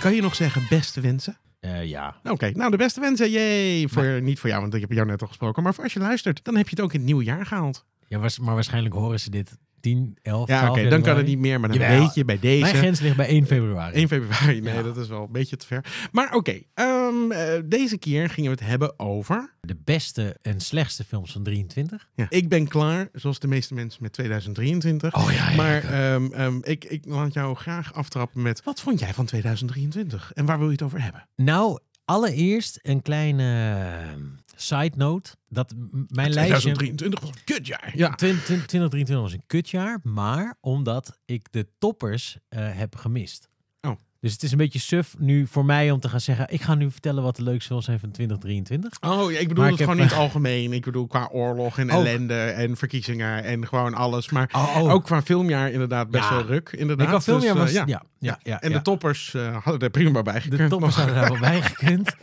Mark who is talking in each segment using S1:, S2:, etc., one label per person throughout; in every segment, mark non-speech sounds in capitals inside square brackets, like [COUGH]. S1: Kan je nog zeggen beste wensen?
S2: Eh, ja.
S1: Oké, nou de beste wensen, jee. Voor, Niet voor jou, want ik heb jou net al gesproken. Maar voor als je luistert, dan heb je het ook in het nieuwe jaar gehaald.
S2: ja was, maar waarschijnlijk horen ze dit 10, 11,
S1: Ja, oké,
S2: 12
S1: dan kan het
S2: januari.
S1: niet meer. Maar dan
S2: Jawel.
S1: weet je bij deze...
S2: Mijn grens ligt bij 1 februari.
S1: 1 februari, nee,
S2: Ja.
S1: dat is wel een beetje te ver. Maar oké, ehm, eh, deze keer gingen we het hebben over...
S2: De beste en slechtste films van 23.
S1: Ja. Ik ben klaar, zoals de meeste mensen met 2023.
S2: Oh ja, ja,
S1: Maar ehm, ehm, ik, ik laat jou graag aftrappen met... Wat vond jij van 2023? En waar wil je het over hebben?
S2: Nou, allereerst een kleine eh, side note. Dat m- mijn lijstje...
S1: 2023 was een kutjaar.
S2: Ja. 2023 was een kutjaar, maar omdat ik de toppers eh, heb gemist.
S1: Oh.
S2: Dus het is een beetje suf nu voor mij om te gaan zeggen... ik ga nu vertellen wat de leukste films zijn van 2023.
S1: Oh, ja, ik bedoel
S2: Maar
S1: het
S2: ik heb, eh,
S1: gewoon niet algemeen. Ik bedoel qua oorlog en
S2: Ook.
S1: ellende en verkiezingen en gewoon alles. Maar
S2: Oh,
S1: ook qua filmjaar inderdaad best
S2: Ja.
S1: wel ruk. Inderdaad.
S2: ik had veel
S1: Dus,
S2: meer...
S1: eh,
S2: was-
S1: ja.
S2: ja, ja, ja, ja,
S1: En de toppers eh, hadden er prima bij gekund.
S2: De
S1: [LAUGHS]
S2: toppers hadden daar wel bij gekund.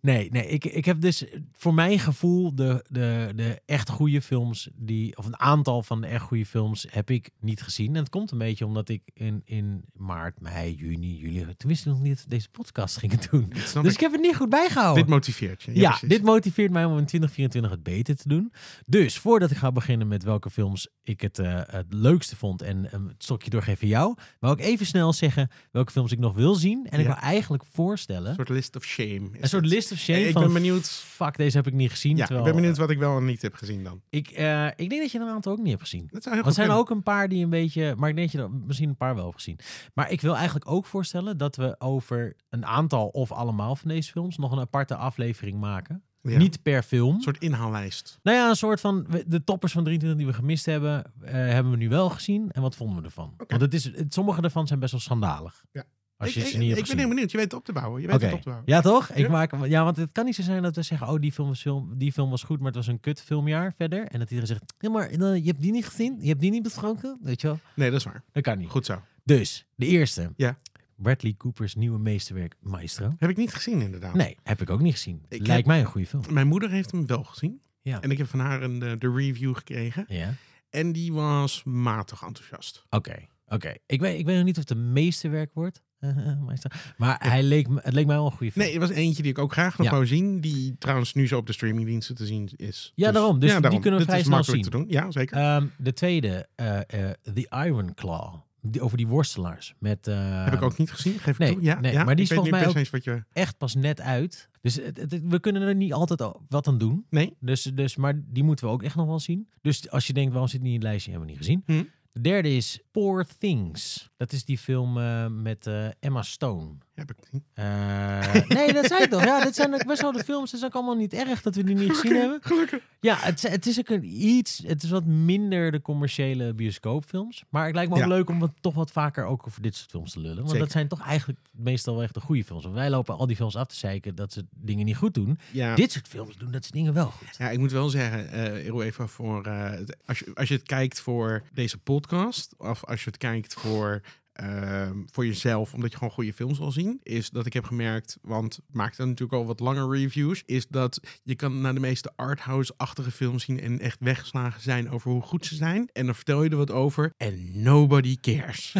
S2: Nee, nee ik, ik heb dus voor mijn gevoel de, de, de echt goede films, die, of een aantal van de echt goede films, heb ik niet gezien. En het komt een beetje omdat ik in, in maart, mei, juni, juli, toen wist ik nog niet dat we deze podcast gingen doen.
S1: Dat snap
S2: Dus
S1: ik.
S2: ik heb het niet goed bijgehouden.
S1: Dit motiveert je. Ja,
S2: ja,
S1: precies.
S2: dit motiveert mij om in 2024 het beter te doen. Dus voordat ik ga beginnen met welke films ik het, eh, het leukste vond en eh, het stokje doorgeven jou, wou ik even snel zeggen welke films ik nog wil zien. En ik
S1: Ja.
S2: wil eigenlijk voorstellen
S1: Een soort list of shame. is
S2: een soort
S1: het.
S2: list of shame.
S1: Ik
S2: van,
S1: ben benieuwd-
S2: Fuck, deze heb ik niet gezien.
S1: Ja,
S2: terwijl,
S1: ik ben benieuwd wat ik wel en niet heb gezien dan.
S2: eh, Ik, eh, ik denk dat je er een aantal ook niet hebt gezien.
S1: Dat zou heel
S2: Want er
S1: goed kunnen.
S2: zijn ook een paar die een beetje. Maar ik denk dat je er misschien een paar wel hebt gezien. Maar ik wil eigenlijk ook voorstellen dat we over een aantal of allemaal van deze films nog een aparte aflevering maken.
S1: Ja.
S2: Niet per film.
S1: Een soort inhaallijst.
S2: Nou ja, een soort van. we- De toppers van 23 die we gemist hebben, eh, hebben we nu wel gezien. En wat vonden we ervan? Want het is, het, sommige daarvan zijn best wel schandalig.
S1: Ja.
S2: Als
S1: ik
S2: je
S1: ik,
S2: ze niet
S1: ik
S2: hebt
S1: ben
S2: gezien.
S1: heel benieuwd. Je weet het op te bouwen. Je weet
S2: Oké.
S1: het op te bouwen.
S2: Ja, toch? Ik
S1: Ja.
S2: maak, ja, want het kan niet zo zijn dat we zeggen: oh, die film was, film, die film was goed, maar het was een kut filmjaar verder. En dat iedereen zegt: ja, maar eh, je hebt die niet gezien, je hebt die niet besproken. Weet je wel?
S1: Nee, dat is waar.
S2: Dat kan niet.
S1: Goed zo.
S2: Dus, de eerste.
S1: Ja.
S2: Bradley Cooper's nieuwe meesterwerk, Maestro.
S1: Heb ik niet gezien inderdaad.
S2: Nee, heb ik ook niet gezien.
S1: Ik
S2: Lijkt
S1: heb-
S2: mij een goede film.
S1: Mijn moeder heeft hem wel gezien.
S2: Ja.
S1: En ik heb van haar een, eh, de review gekregen.
S2: Ja.
S1: En die was matig enthousiast.
S2: Oké. Oké. Ik, weet, ik weet nog niet of het een meesterwerk wordt. Maestro. [LAUGHS] Maar hij leek, me- het leek mij wel een goede film.
S1: Nee, er was eentje die ik ook graag nog
S2: Ja.
S1: wou zien. Die trouwens nu zo op de streamingdiensten te zien is.
S2: Ja, daarom. Dus die kunnen we
S1: Dit
S2: vrij
S1: is
S2: snel
S1: makkelijk
S2: zien.
S1: te doen. Ja, zeker.
S2: Ehm, de tweede, eh, eh, The Iron Claw. Die, over die worstelaars. Met, eh,
S1: heb ik ook niet gezien. Geef
S2: nee,
S1: ik toe. Ja,
S2: nee,
S1: ja.
S2: maar die
S1: ik
S2: is
S1: weet
S2: volgens
S1: nu
S2: mij
S1: best
S2: ook-
S1: eens wat je...
S2: echt pas net uit. Dus het- het- het- we kunnen er niet altijd al wat aan doen.
S1: Nee.
S2: Dus, dus, maar die moeten we ook echt nog wel zien. Dus als je denkt, waarom zit het niet in het lijstje, hebben we niet gezien.
S1: Hm.
S2: De derde is Poor Things. Dat is die film eh, met eh, Emma Stone.
S1: Heb ik niet.
S2: Eh, [LAUGHS] nee, dat zei ik toch. Ja, dit zijn ook best wel de films. Het is ook allemaal niet erg dat we die niet gezien hebben.
S1: Gelukkig.
S2: Ja, het, is- het is ook een iets... Het is wat minder de commerciële bioscoopfilms. Maar het lijkt me ook
S1: Ja.
S2: leuk om het toch wat vaker ook over dit soort films te lullen. Want
S1: Zeker.
S2: dat zijn toch eigenlijk meestal wel echt de goede films. Want wij lopen al die films af te zeiken dat ze dingen niet goed doen.
S1: Ja.
S2: Dit soort films doen dat ze dingen wel
S1: [LAUGHS]
S2: goed.
S1: Ja, ik moet wel zeggen, eh heel even voor. eh, het- als, je, als je het kijkt voor deze podcast, of als je het kijkt voor. ehm, voor jezelf, omdat je gewoon goede films wil zien, is dat ik heb gemerkt, want het maakt dan natuurlijk al wat lange reviews, is dat je kan naar de meeste arthouse-achtige films zien en echt weggeslagen zijn over hoe goed ze zijn. En dan vertel je er wat over en nobody
S2: [LAUGHS]
S1: cares.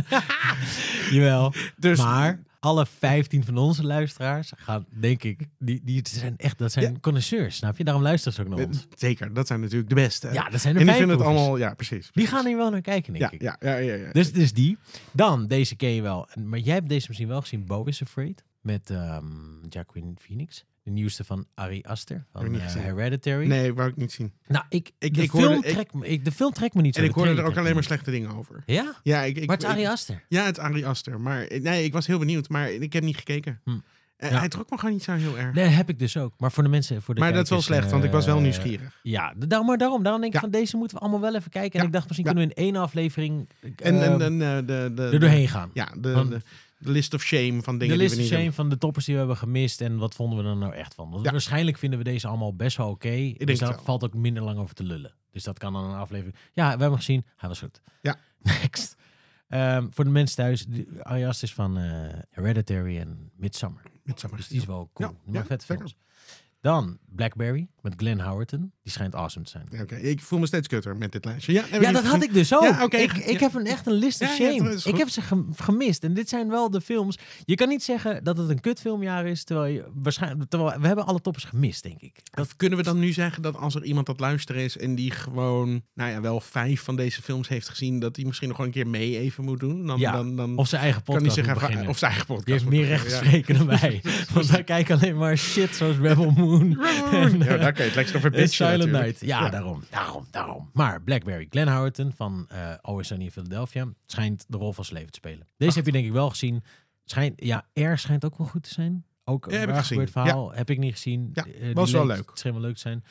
S2: Jawel.
S1: Dus
S2: Maar alle 15 van onze luisteraars gaan, denk ik, die, die zijn echt, dat zijn connoisseurs, snap je? Daarom luisteren ze ook naar
S1: eh,
S2: ons.
S1: zeker, dat zijn natuurlijk de beste.
S2: Oh. Ja, dat zijn de
S1: eh, en die vinden het
S2: fijnproevers.
S1: allemaal, ja, precies.
S2: Die
S1: precies.
S2: gaan hier wel naar kijken, denk
S1: ja,
S2: ik.
S1: ja, ja, ja, ja.
S2: Dus, dus die. Dan, deze ken je wel. En- Maar jij hebt deze misschien wel gezien. Bo is Afraid. Met ehm Jacqueline Phoenix. De nieuwste van Ari Aster. Van
S1: Heb ik niet
S2: eh,
S1: gezien.
S2: Hereditary.
S1: Nee, wou ik niet zien.
S2: Nou, ik,
S1: Ik-
S2: de,
S1: ik
S2: film
S1: hoorde- ik-
S2: trekt me, ik, de film trekt me niet zo.
S1: En ik
S2: de
S1: hoorde er
S2: trailer
S1: ook alleen maar
S2: trekt
S1: slechte dingen over.
S2: me niet. Ja?
S1: Ja, ik, ik,
S2: maar het is
S1: ik-
S2: Ari Aster.
S1: ja, het is Ari Aster. Maar eh, nee, ik was heel benieuwd, maar ik heb niet gekeken.
S2: Hm.
S1: Eh,
S2: Ja.
S1: Hij trok me gewoon niet zo heel erg.
S2: Nee, heb ik dus ook. Maar voor de mensen... Voor de
S1: maar dat is wel
S2: kijkers,
S1: slecht, want ik was wel
S2: eh,
S1: nieuwsgierig.
S2: Ja, d- daarom, maar daarom. Daarom denk ik
S1: Ja.
S2: van deze moeten we allemaal wel even kijken. En
S1: Ja,
S2: ik dacht misschien
S1: ja.
S2: kunnen we in één aflevering
S1: En,
S2: en,
S1: en, en, eh, de, de,
S2: er doorheen gaan.
S1: Ja, de,
S2: Van-
S1: de, de list of shame van dingen
S2: de
S1: die
S2: list of
S1: we niet
S2: shame
S1: hebben.
S2: van de toppers die we hebben gemist en wat vonden we er nou echt van. Want
S1: Ja.
S2: waarschijnlijk vinden we deze allemaal best wel oké.
S1: denk
S2: dus
S1: het
S2: daar
S1: wel.
S2: valt ook minder lang over te lullen. Dus dat kan dan een aflevering. Ja, we hebben hem gezien. Hij was goed.
S1: Ja.
S2: [LAUGHS] Next. Ehm, voor de mensen thuis, de- Ari Aster is van eh, Hereditary en Midsummer.
S1: Midsommar.
S2: Dus die is wel cool.
S1: Ja,
S2: Die maakt
S1: ja,
S2: vette
S1: zeker.
S2: films. Dan Blackberry met Glenn Howerton. Die schijnt awesome te zijn.
S1: Ja, oké. Ik voel me steeds kutter met dit lijstje. Ja, nee,
S2: Ja,
S1: maar
S2: dat
S1: dit-
S2: had ik dus ook.
S1: [LAUGHS] Ja, oké.
S2: Ik, ik
S1: Ja.
S2: heb een, echt een list of
S1: Ja, ja,
S2: shame.
S1: dat is goed.
S2: ik heb ze gem- gemist. En dit zijn wel de films. Je kan niet zeggen dat het een kutfilmjaar is, terwijl, je, waarschijnlijk, terwijl we hebben alle toppers gemist, denk ik.
S1: Dat kunnen we dan nu zeggen dat als er iemand dat luisteren is en die gewoon, nou ja, wel vijf van deze films heeft gezien, dat die misschien nog gewoon een keer mee even moet doen? Dan,
S2: Ja,
S1: dan, dan
S2: Of zijn eigen
S1: kan die
S2: podcast
S1: zich
S2: moet
S1: even
S2: beginnen.
S1: of zijn eigen podcast.
S2: Die heeft
S1: moet
S2: meer recht
S1: beginnen,
S2: te
S1: ja.
S2: spreken
S1: [LAUGHS]
S2: dan wij. Want wij kijken alleen maar shit zoals Rebel Moon. [LAUGHS]
S1: Ja,
S2: En, eh,
S1: daar kan je het lekker over
S2: en
S1: bitchen
S2: Silent
S1: natuurlijk.
S2: Night. Ja, daarom. Daarom, daarom. Maar Blackberry Glenn Howerton van eh Always Sunny in Philadelphia schijnt de rol van zijn leven te spelen. Deze heb je denk ik wel gezien. Schijnt, ja, R schijnt ook wel goed te zijn. Ook
S1: Ja, heb ik
S2: een waar
S1: gezien.
S2: gebeurd verhaal. Heb ik niet gezien.
S1: Ja,
S2: Eh, die
S1: was wel
S2: leek-
S1: leuk.
S2: Het schijnt wel leuk te zijn.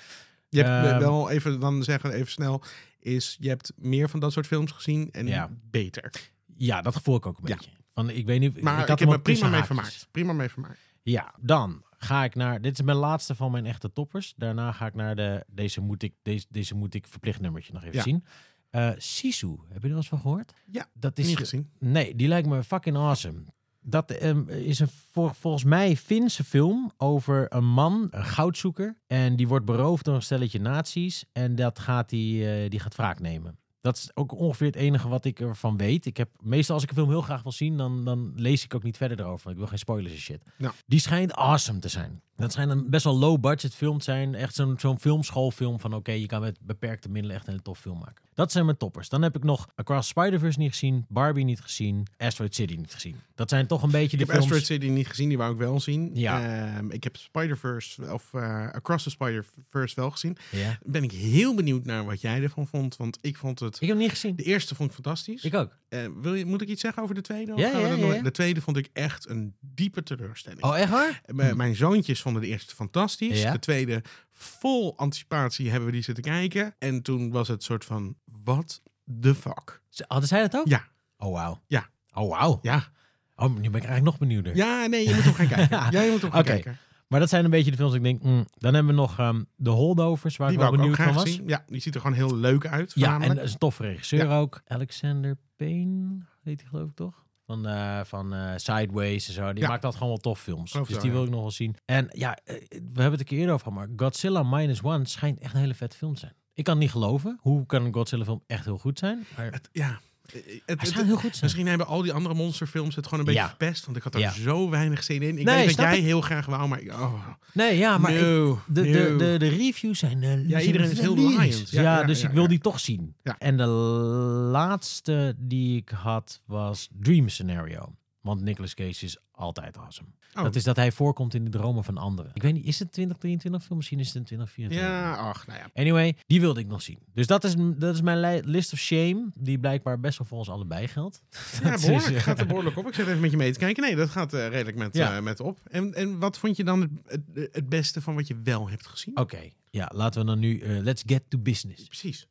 S1: Je hebt eh,
S2: Ehm,
S1: wel even dan zeggen, even snel, is je hebt meer van dat soort films gezien en
S2: Ja.
S1: beter.
S2: Ja, dat gevoel ik ook een
S1: Ja.
S2: beetje. Van, ik weet niet,
S1: Maar ik,
S2: ik had
S1: heb
S2: hem
S1: me prima
S2: ook tussen
S1: mee
S2: haakjes.
S1: vermaakt. Prima mee vermaakt.
S2: Ja, dan ga ik naar. Dit is mijn laatste van mijn echte toppers. Daarna ga ik naar de. Deze moet ik, deze, deze moet ik verplicht nummertje nog even
S1: Ja.
S2: zien. Eh Sisu, heb je er eens van gehoord?
S1: Ja,
S2: dat is.
S1: Niet gezien.
S2: Nee, die lijkt me fucking awesome. Dat ehm, is een vol- volgens mij Finse film over een man, een goudzoeker. En die wordt beroofd door een stelletje nazi's. En dat gaat die, eh, die gaat wraak nemen. Dat is ook ongeveer het enige wat ik ervan weet. Ik heb, meestal als ik een film heel graag wil zien, dan, dan lees ik ook niet verder erover. Want ik wil geen spoilers en shit.
S1: Ja.
S2: Die schijnt awesome te zijn. Dat schijnt een best wel low budget film te zijn. Echt zo'n zo'n filmschoolfilm van oké, je kan met beperkte middelen echt een hele tof film maken. Dat zijn mijn toppers. Dan heb ik nog Across Spider-Verse niet gezien, Barbie niet gezien, Asteroid City niet gezien. Dat zijn toch een beetje
S1: Ik
S2: de
S1: heb
S2: films...
S1: Asteroid City niet gezien, die wou ik wel zien.
S2: Ja.
S1: Ehm, ik heb Spider-Verse, of eh, Across the Spider-Verse wel gezien.
S2: Ja.
S1: Ben ik heel benieuwd naar wat jij ervan vond, want ik vond het...
S2: Ik heb hem niet gezien.
S1: De eerste vond ik fantastisch.
S2: Ik ook.
S1: Eh, wil je, moet ik iets zeggen over de tweede? Of
S2: Ja,
S1: gaan we
S2: ja,
S1: dat
S2: ja,
S1: nog-
S2: ja.
S1: De tweede vond ik echt een diepe teleurstelling.
S2: Oh, echt waar?
S1: M- eh, Mijn zoontjes vonden de eerste fantastisch.
S2: Ja.
S1: De tweede, vol anticipatie hebben we die zitten kijken. En toen was het soort van, what the fuck?
S2: Z- Hadden zij dat ook?
S1: Ja.
S2: Oh, wauw.
S1: Ja.
S2: Oh, wauw.
S1: Ja,
S2: Oh, nu ben ik eigenlijk nog benieuwder.
S1: ja nee, je moet
S2: [LAUGHS]
S1: hem gaan kijken. Ja, je moet hem gaan
S2: Oké.
S1: kijken.
S2: Maar dat zijn een beetje de films die ik denk, mm. dan hebben we nog ehm, de Holdovers, waar
S1: Die
S2: ik wel
S1: wou ik ook
S2: benieuwd van
S1: graag
S2: was.
S1: zien. Ja, die ziet er gewoon heel leuk uit.
S2: Ja, en
S1: voornamelijk.
S2: dat is een toffe regisseur ook. Alexander Payne, heet hij geloof ik toch? Van, eh, van eh, Sideways en zo. Die
S1: Ja.
S2: maakt dat gewoon wel tof films.
S1: Geloof
S2: Dus
S1: zo,
S2: die
S1: ja.
S2: wil ik nog wel zien. En ja, eh, we hebben het een keer eerder over gehad, maar Godzilla Minus One schijnt echt een hele vet film te zijn. Ik kan het niet geloven. Hoe kan een Godzilla film echt heel goed zijn? Maar
S1: Het- ja. Eh, eh, het-
S2: hij
S1: het-
S2: schijnt heel goed te zijn.
S1: Misschien hebben al die andere monsterfilms het gewoon een beetje
S2: Ja.
S1: verpest. Want ik had er
S2: Ja.
S1: zo weinig zin in. Ik
S2: Nee,
S1: weet dat
S2: snap
S1: jij
S2: ik.
S1: heel graag wou, maar... ik- Oh,
S2: Nee, ja, maar ik-
S1: no,
S2: de, de,
S1: no.
S2: de, de reviews zijn... eh, zijn
S1: iedereen is heel
S2: lyrisch.
S1: laaiend.
S2: Ja,
S1: Ja, ja,
S2: dus
S1: ja,
S2: ik wil
S1: ja.
S2: die toch zien.
S1: Ja.
S2: En de laatste die ik had was Dream Scenario. Want Nicolas Cage is altijd awesome.
S1: Oh.
S2: Dat is dat hij voorkomt in de dromen van anderen. Ik weet niet, is het 2023 film? Misschien is het een 2024.
S1: Ja, ach, nou ja.
S2: Anyway, die wilde ik nog zien. Dus dat is, dat is mijn li- list of shame, die blijkbaar best wel voor ons allebei geldt. [LAUGHS]
S1: Ja,
S2: Dat is,
S1: behoorlijk.
S2: eh,
S1: gaat er behoorlijk op. Ik zet even met je mee te kijken. Nee, dat gaat eh, redelijk met,
S2: Ja.
S1: eh, met op. En, en wat vond je dan het, het, het beste van wat je wel hebt gezien?
S2: [LAUGHS] Oké, ja, laten we dan nu, eh, let's get to business.
S1: Precies.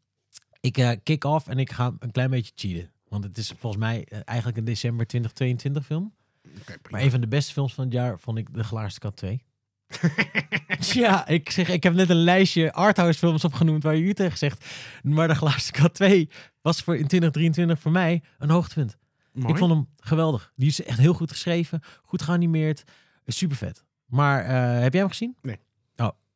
S2: Ik eh, kick off en ik ga een klein beetje cheaten. Want het is volgens mij eh, eigenlijk een december 2022 film.
S1: Oké, prima.
S2: Maar een van de beste films van het jaar vond ik De Gelaarste
S1: [LAUGHS]
S2: Kat 2. ja, ik zeg, ik heb net een lijstje arthouse films opgenoemd waar u tegen zegt. Maar De Gelaarste Kat 2 was voor in 2023 voor mij een hoogtepunt.
S1: Mooi.
S2: Ik vond hem geweldig. Die is echt heel goed geschreven, goed geanimeerd. Super vet. Maar eh, heb jij hem gezien?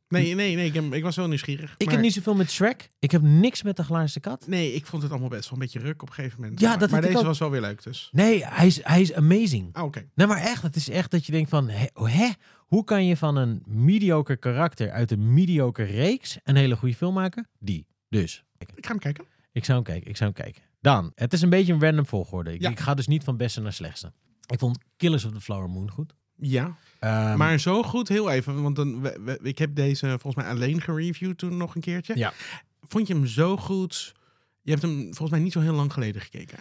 S1: Nee, nee, nee. Ik, heb- ik was wel nieuwsgierig.
S2: Ik
S1: maar-
S2: heb niet zoveel met Shrek. Ik heb niks met De Gelaarste Kat.
S1: Nee, ik vond het allemaal best wel een beetje ruk op een gegeven moment.
S2: Ja,
S1: maar
S2: dat
S1: maar
S2: had ik
S1: deze
S2: ook.
S1: was wel weer leuk dus.
S2: Nee, hij is, hij is amazing.
S1: Ah, oké.
S2: Nee, maar echt, het is echt dat je denkt van, hè, hè? hoe kan je van een mediocre karakter uit een mediocre reeks een hele goede film maken? Die. Dus,
S1: Ik ga hem kijken.
S2: ik zou hem kijken, ik zou hem kijken. Dan, het is een beetje een random volgorde. Ik,
S1: Ja.
S2: ik ga dus niet van beste naar slechtste. Ik vond Killers of the Flower Moon goed.
S1: Ja,
S2: Ehm,
S1: maar zo goed, heel even. Want dan, we- we- ik heb deze volgens mij alleen gereviewd toen nog een keertje.
S2: Ja.
S1: Vond je hem zo goed? Je hebt hem volgens mij niet zo heel lang geleden gekeken.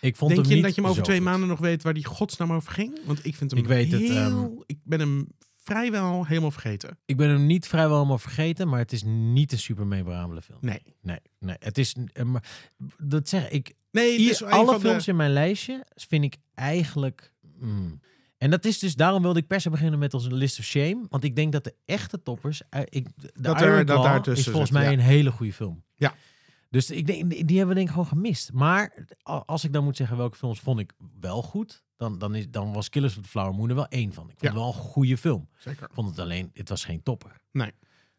S2: ik vond
S1: Denk
S2: hem
S1: je
S2: niet
S1: dat je hem over
S2: zo
S1: twee
S2: goed.
S1: maanden nog weet waar die godsnaam over ging? Want ik vind hem
S2: Ik weet het,
S1: heel...
S2: ehm,
S1: Ik ben hem vrijwel helemaal vergeten.
S2: Ik ben hem niet vrijwel helemaal vergeten, maar het is niet een super memorabele film.
S1: Nee.
S2: Nee, nee. Het is, eh, maar, dat zeg ik,
S1: Nee, het
S2: Ier-
S1: is een
S2: alle
S1: van de-
S2: films in mijn lijstje vind ik eigenlijk. mm. En dat is dus, daarom wilde ik per se beginnen met onze list of shame. Want ik denk dat de echte toppers. eh, ik, de
S1: Dat er-
S2: Iron
S1: dat
S2: Claw
S1: daar
S2: is
S1: tussen
S2: volgens
S1: zit,
S2: mij
S1: ja.
S2: een hele goede film.
S1: Ja.
S2: Dus ik denk, die hebben we denk ik gewoon gemist. Maar a- als ik dan moet zeggen welke films vond ik wel goed. dan, dan, is, dan was Killers of the Flower Moon er wel één van. Ik vond
S1: Ja.
S2: het wel een goede film.
S1: Zeker.
S2: Ik vond het alleen, het was geen topper.
S1: Nee.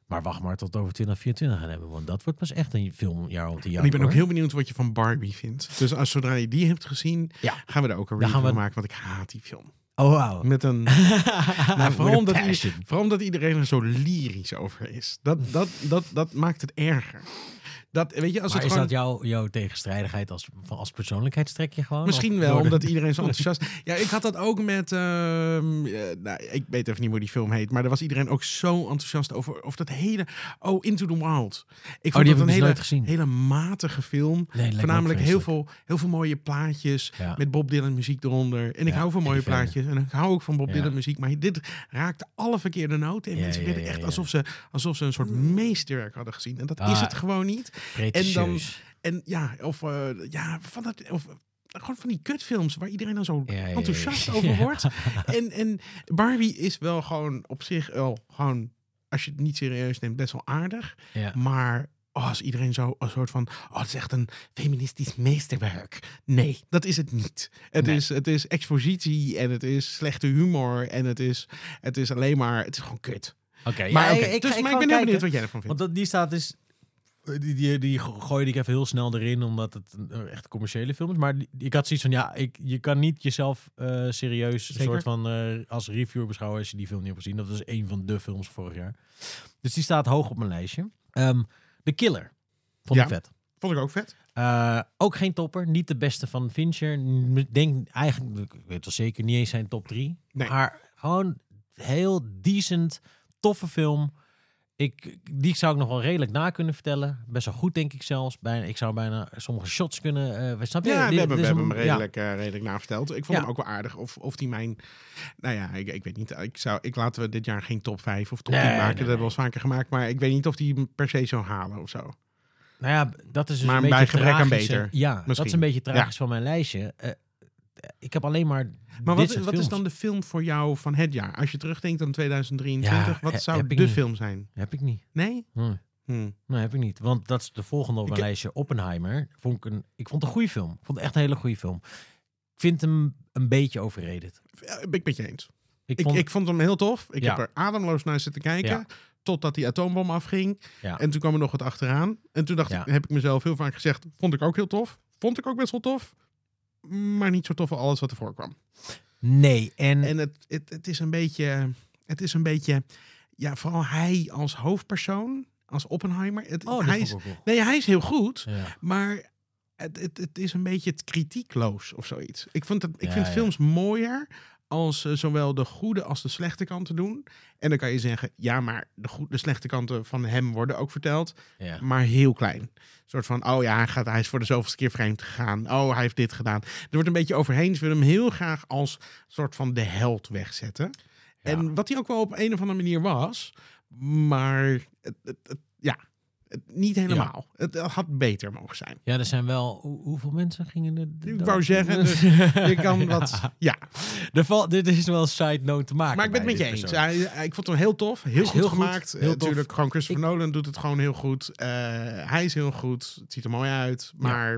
S2: Maar wacht maar tot over 2024 gaan hebben, want dat wordt pas echt een filmjaar op de jaar.
S1: En ik ben ook heel benieuwd wat je van Barbie vindt. Dus als, zodra je die hebt gezien,
S2: Ja.
S1: gaan we daar ook een
S2: Dan gaan
S1: review van
S2: we-
S1: maken. Want ik haat die film.
S2: Oh, wauw.
S1: Met
S2: [LAUGHS]
S1: een...
S2: nou,
S1: vooral omdat die- Vooral omdat iedereen er zo lyrisch over is. Dat, dat, dat, dat maakt het erger. Dat, weet je, als
S2: Maar
S1: het
S2: is
S1: gewoon...
S2: dat jouw, jouw tegenstrijdigheid als, van- als persoonlijkheidstrekje gewoon?
S1: Misschien
S2: Of
S1: wel,
S2: door de-
S1: omdat iedereen
S2: [LAUGHS]
S1: zo enthousiast... Ja, ik had dat ook met... ehm, eh, nou, ik weet even niet hoe die film heet. Maar daar was iedereen ook zo enthousiast over. Of dat hele... Oh, Into the Wild. Ik
S2: Oh, die
S1: dat
S2: heb ik
S1: een
S2: dus
S1: hele,
S2: nooit gezien.
S1: hele matige film.
S2: Nee, lijkt me
S1: Voornamelijk
S2: ook
S1: heel
S2: vreselijk.
S1: veel, heel veel mooie plaatjes.
S2: Ja.
S1: Met Bob Dylan muziek eronder. En ik
S2: Ja,
S1: hou van
S2: en
S1: mooie
S2: die verder.
S1: plaatjes. En ik hou ook van Bob
S2: Ja.
S1: Dylan muziek. Maar dit raakte alle verkeerde noten. En
S2: Ja,
S1: mensen
S2: ja,
S1: werden
S2: ja,
S1: echt
S2: ja.
S1: alsof, ze, alsof ze een soort meesterwerk hadden gezien. En dat
S2: Ah.
S1: is het gewoon niet.
S2: Pretentieus.
S1: En ja, of, eh, ja, van dat, of eh, gewoon van die kutfilms waar iedereen dan zo
S2: Ja, ja, ja, ja.
S1: enthousiast
S2: [LAUGHS] Ja.
S1: over wordt. En, en Barbie is wel gewoon op zich wel gewoon, als je het niet serieus neemt, best wel aardig.
S2: Ja.
S1: Maar oh, als iedereen zo een soort van, oh, het is echt een feministisch meesterwerk. Nee, dat is het niet. Het,
S2: Nee.
S1: is, het is expositie en het is slechte humor en het is, het is alleen maar, het is gewoon kut.
S2: Oké,
S1: maar
S2: ja,
S1: oké, dus,
S2: ga-
S1: maar ik ben heel
S2: ga kijken.
S1: benieuwd wat jij ervan
S2: Want
S1: vindt.
S2: dat, die staat is. Die, die, die go- gooide ik even heel snel erin, omdat het een eh, echt commerciële film is. Maar die- ik had zoiets van, ja, ik, je kan niet jezelf eh, serieus een
S1: Zeker.
S2: soort van eh, als reviewer beschouwen als je die film niet hebt gezien. Dat is een van de films vorig jaar. Dus die staat hoog op mijn lijstje. Ehm The Killer. Vond ik
S1: Ja.
S2: vet.
S1: Vond ik ook vet.
S2: Eh, ook geen topper. Niet de beste van Fincher. N- Ik denk eigenlijk, ik weet wel zeker, niet eens zijn top 3.
S1: Nee.
S2: Maar gewoon heel decent, toffe film. Ik, die zou ik nog wel redelijk na kunnen vertellen. Best wel goed, denk ik zelfs. Bijna, ik zou bijna sommige shots kunnen... eh, we- snap je?
S1: Ja,
S2: Dit-
S1: we hebben,
S2: dit
S1: we
S2: is
S1: hebben hem
S2: een- ja.
S1: redelijk, eh, redelijk naverteld. Ik vond
S2: Ja.
S1: hem ook wel aardig. Of, of die mijn... Nou ja, ik, ik weet niet. Ik, zou, ik laten we dit jaar geen top 5 of top
S2: Nee,
S1: 10 maken.
S2: nee,
S1: dat
S2: nee.
S1: hebben we al eens vaker gemaakt. Maar ik weet niet of die hem per se zou halen of zo.
S2: Nou ja, dat is dus
S1: Maar
S2: een beetje
S1: bij gebrek aan
S2: tragische-
S1: beter,
S2: Ja, dat is
S1: misschien.
S2: een beetje tragisch van mijn lijstje. Eh, ik heb alleen maar
S1: Maar
S2: dit
S1: wat,
S2: soort
S1: wat is
S2: films.
S1: dan de film voor jou van het jaar? Als je terugdenkt aan 2023,
S2: Ja, he-
S1: wat zou
S2: heb ik
S1: de
S2: niet.
S1: film zijn?
S2: Heb ik niet.
S1: Nee?
S2: Hm.
S1: Hm.
S2: Nee, heb ik niet. Want dat is de volgende op mijn
S1: Ik-
S2: lijstje, Oppenheimer. Vond ik, een, ik vond het een goede film. Ik vond het echt een hele goede film. Ik vind hem een beetje overrated.
S1: Ja, Eh, Ben ik met je eens.
S2: Ik
S1: Ik,
S2: vond,
S1: ik vond hem heel tof. Ik
S2: Ja.
S1: heb er ademloos naar zitten kijken.
S2: Ja.
S1: Totdat die atoombom afging.
S2: Ja.
S1: En toen kwam er nog wat achteraan. En toen dacht
S2: Ja.
S1: ik, heb ik mezelf heel vaak gezegd, vond ik ook heel tof. Vond ik ook best wel tof. Maar niet zo tof als alles wat ervoor kwam.
S2: nee, en,
S1: En het, het, het is een beetje, het is een beetje, ja, vooral hij als hoofdpersoon, als Oppenheimer. Het,
S2: oh, dat
S1: hij,
S2: vond
S1: is,
S2: ik ook wel.
S1: nee, hij is heel goed,
S2: Ja.
S1: maar het, het, het is een beetje het kritiekloos of zoiets. Ik, vond het, ik
S2: Ja,
S1: vind
S2: ja.
S1: films mooier als ze zowel de goede als de slechte kanten doen. En dan kan je zeggen, ja, maar de, goe- de slechte kanten van hem worden ook verteld,
S2: Ja.
S1: maar heel klein. Een soort van, oh ja, hij, gaat, hij is voor de zoveelste keer vreemd gegaan. Oh, hij heeft dit gedaan. Er wordt een beetje overheen. Ze willen hem heel graag als soort van de held wegzetten. En wat hij ook wel op een of andere manier was. Maar het, het, het- ja, het, niet helemaal. Het, het had beter mogen zijn.
S2: ja, er zijn wel... hoe- hoeveel mensen gingen er... er
S1: Ik
S2: dood?
S1: wou zeggen,
S2: [LAUGHS]
S1: dus Je kan wat...
S2: Ja.
S1: Ja,
S2: Er valt, dit is wel een side note te maken.
S1: maar ik ben het met
S2: bij
S1: je eens.
S2: dit persoon.
S1: Hij- hij- ik vond hem heel tof. Heel
S2: is
S1: goed
S2: heel goed,
S1: gemaakt.
S2: heel
S1: Eh,
S2: tof.
S1: Natuurlijk, gewoon Christopher
S2: Ik-
S1: Nolan doet het gewoon heel goed. Eh, hij is heel goed. Het ziet er mooi uit. Maar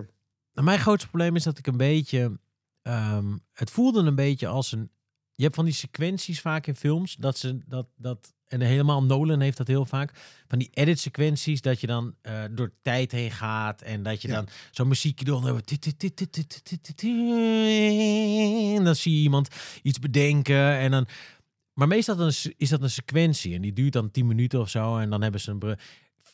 S2: Nou, Mijn grootste probleem is dat ik een beetje... ehm, het voelde een beetje als een... Je hebt van die sequenties vaak in films. Dat ze dat, dat, en helemaal Nolan heeft dat heel vaak. Van die edit sequenties. Dat je dan eh, door tijd heen gaat. En dat je
S1: Ja.
S2: dan zo'n muziekje door. En dan zie je iemand iets bedenken. En dan... Maar meestal dan is- is dat een sequentie. En die duurt dan 10 minuten of zo. En dan hebben ze een... br-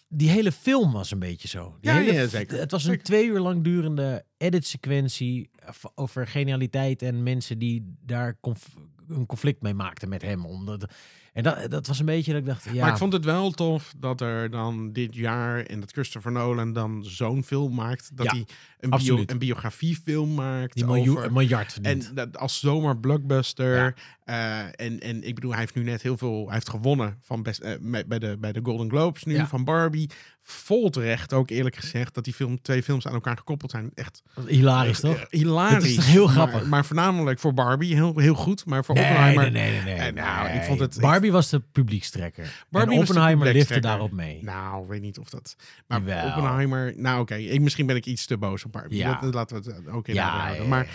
S2: Die hele film was een beetje zo. Die
S1: Ja,
S2: hele
S1: ja, zeker.
S2: het was een
S1: Zeker.
S2: twee uur lang durende edit-sequentie v- over genialiteit en mensen die daar conf- een conflict mee maakten met hem. Omdat, en dat, dat was een beetje dat ik dacht, ja,
S1: Maar ik vond het wel tof dat er dan dit jaar en dat Christopher Nolan dan zo'n film maakt. Dat
S2: Ja,
S1: hij een, bio,
S2: absoluut.
S1: een biografiefilm maakt.
S2: die miljoen-
S1: over-
S2: een miljard verdient.
S1: en dat als zomaar blockbuster. eh, en, en ik bedoel, hij heeft nu net heel veel. Hij heeft gewonnen van best, eh, me- bij, de, bij de Golden Globes nu
S2: Ja.
S1: van Barbie. vol terecht ook eerlijk gezegd dat die film, twee films aan elkaar gekoppeld zijn. Echt
S2: Hilarisch, toch?
S1: eh, hilarisch.
S2: Het is toch heel
S1: Maar-
S2: grappig?
S1: Maar, voornamelijk voor Barbie heel, heel goed, maar voor
S2: Nee, nee,
S1: Oppenheimer...
S2: nee, nee, nee,
S1: Eh, nou, ik vond het-
S2: Barbie was de publiekstrekker.
S1: Barbie
S2: en
S1: was de
S2: Oppenheimer lifte
S1: publiekstrekker.
S2: daarop mee.
S1: Nou, weet niet of dat. Maar
S2: Jawel.
S1: Oppenheimer. Nou, oké. ik Misschien ben ik iets te boos op Barbie.
S2: Ja.
S1: Dat, dat laten we het eh, ook in
S2: Ja,
S1: ja, houden.
S2: ja,
S1: Maar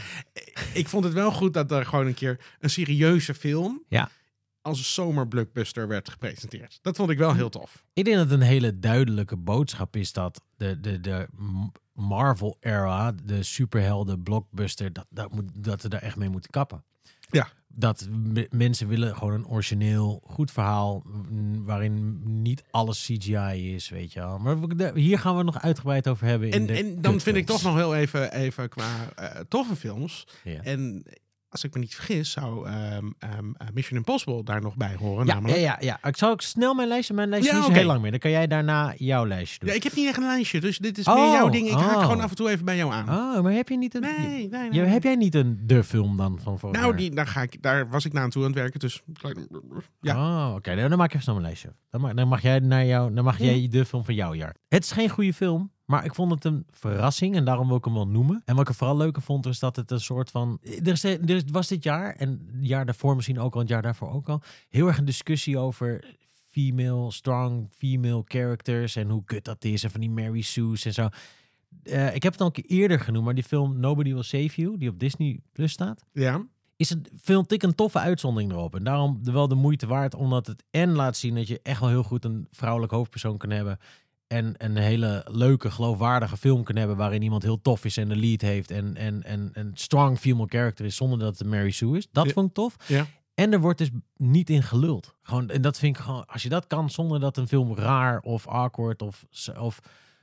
S1: ik vond het wel goed dat er gewoon een keer een serieuze film.
S2: Ja.
S1: Als een zomerblockbuster werd gepresenteerd. Dat vond ik wel heel tof.
S2: Ik denk dat een hele duidelijke boodschap is dat de, de, de M- Marvel-era, de superhelden, blockbuster, dat, dat, moet, dat we daar echt mee moeten kappen.
S1: Ja.
S2: Dat m- mensen willen gewoon een origineel, goed verhaal mm, waarin niet alles CGI is, weet je wel. Maar we- de- hier gaan we het nog uitgebreid over hebben. in
S1: En,
S2: de
S1: en dan vind ik toch
S2: kutfilms.
S1: nog heel even, even qua eh, toffe films.
S2: Ja.
S1: En als ik me niet vergis, zou ehm, ehm, eh, Mission Impossible daar nog bij horen.
S2: Ja, ja,
S1: namelijk.
S2: ja, ja. Ik zal ook snel mijn lijstje, mijn lijstje
S1: Ja,
S2: is
S1: oké.
S2: heel lang meer. Dan kan jij daarna jouw lijstje doen.
S1: Ja, ik heb niet echt een lijstje, dus dit is
S2: Oh,
S1: meer jouw ding. Ik haak
S2: oh.
S1: gewoon af en toe even bij jou aan.
S2: Oh, maar heb je niet een...
S1: Nee, nee, nee.
S2: Je, heb jij niet een de film dan van vorig
S1: Nou,
S2: jaar?
S1: die, daar, ga ik, daar was ik na aan toe aan het werken, dus... Ja.
S2: Oh, oké. Nou, Dan maak ik even snel mijn lijstje. Dan mag, dan mag jij naar jou, dan mag jij de film van jouw jaar. Het is geen goede film, maar ik vond het een verrassing en daarom wil ik hem wel noemen. En wat ik er vooral leuker vond, is dat het een soort van... Er, is, er is- was dit jaar, en het jaar daarvoor misschien ook al, het jaar daarvoor ook al, heel erg een discussie over female, strong female characters en hoe kut dat is en van die Mary Sue's en zo. Eh, ik heb het al een keer eerder genoemd, maar die film Nobody Will Save You, die op Disney Plus staat,
S1: Ja,
S2: is het, vind ik een toffe uitzondering erop. En daarom wel de moeite waard, omdat het en laat zien dat je echt wel heel goed een vrouwelijk hoofdpersoon kan hebben. En een hele leuke, geloofwaardige film kan hebben waarin iemand heel tof is en een lead heeft. En, en, en een strong female character is zonder dat het een Mary Sue is. Dat
S1: Ja.
S2: vond ik tof.
S1: Ja.
S2: En er wordt dus niet in geluld. Gewoon, en dat vind ik gewoon, als je dat kan zonder dat een film raar of awkward of... of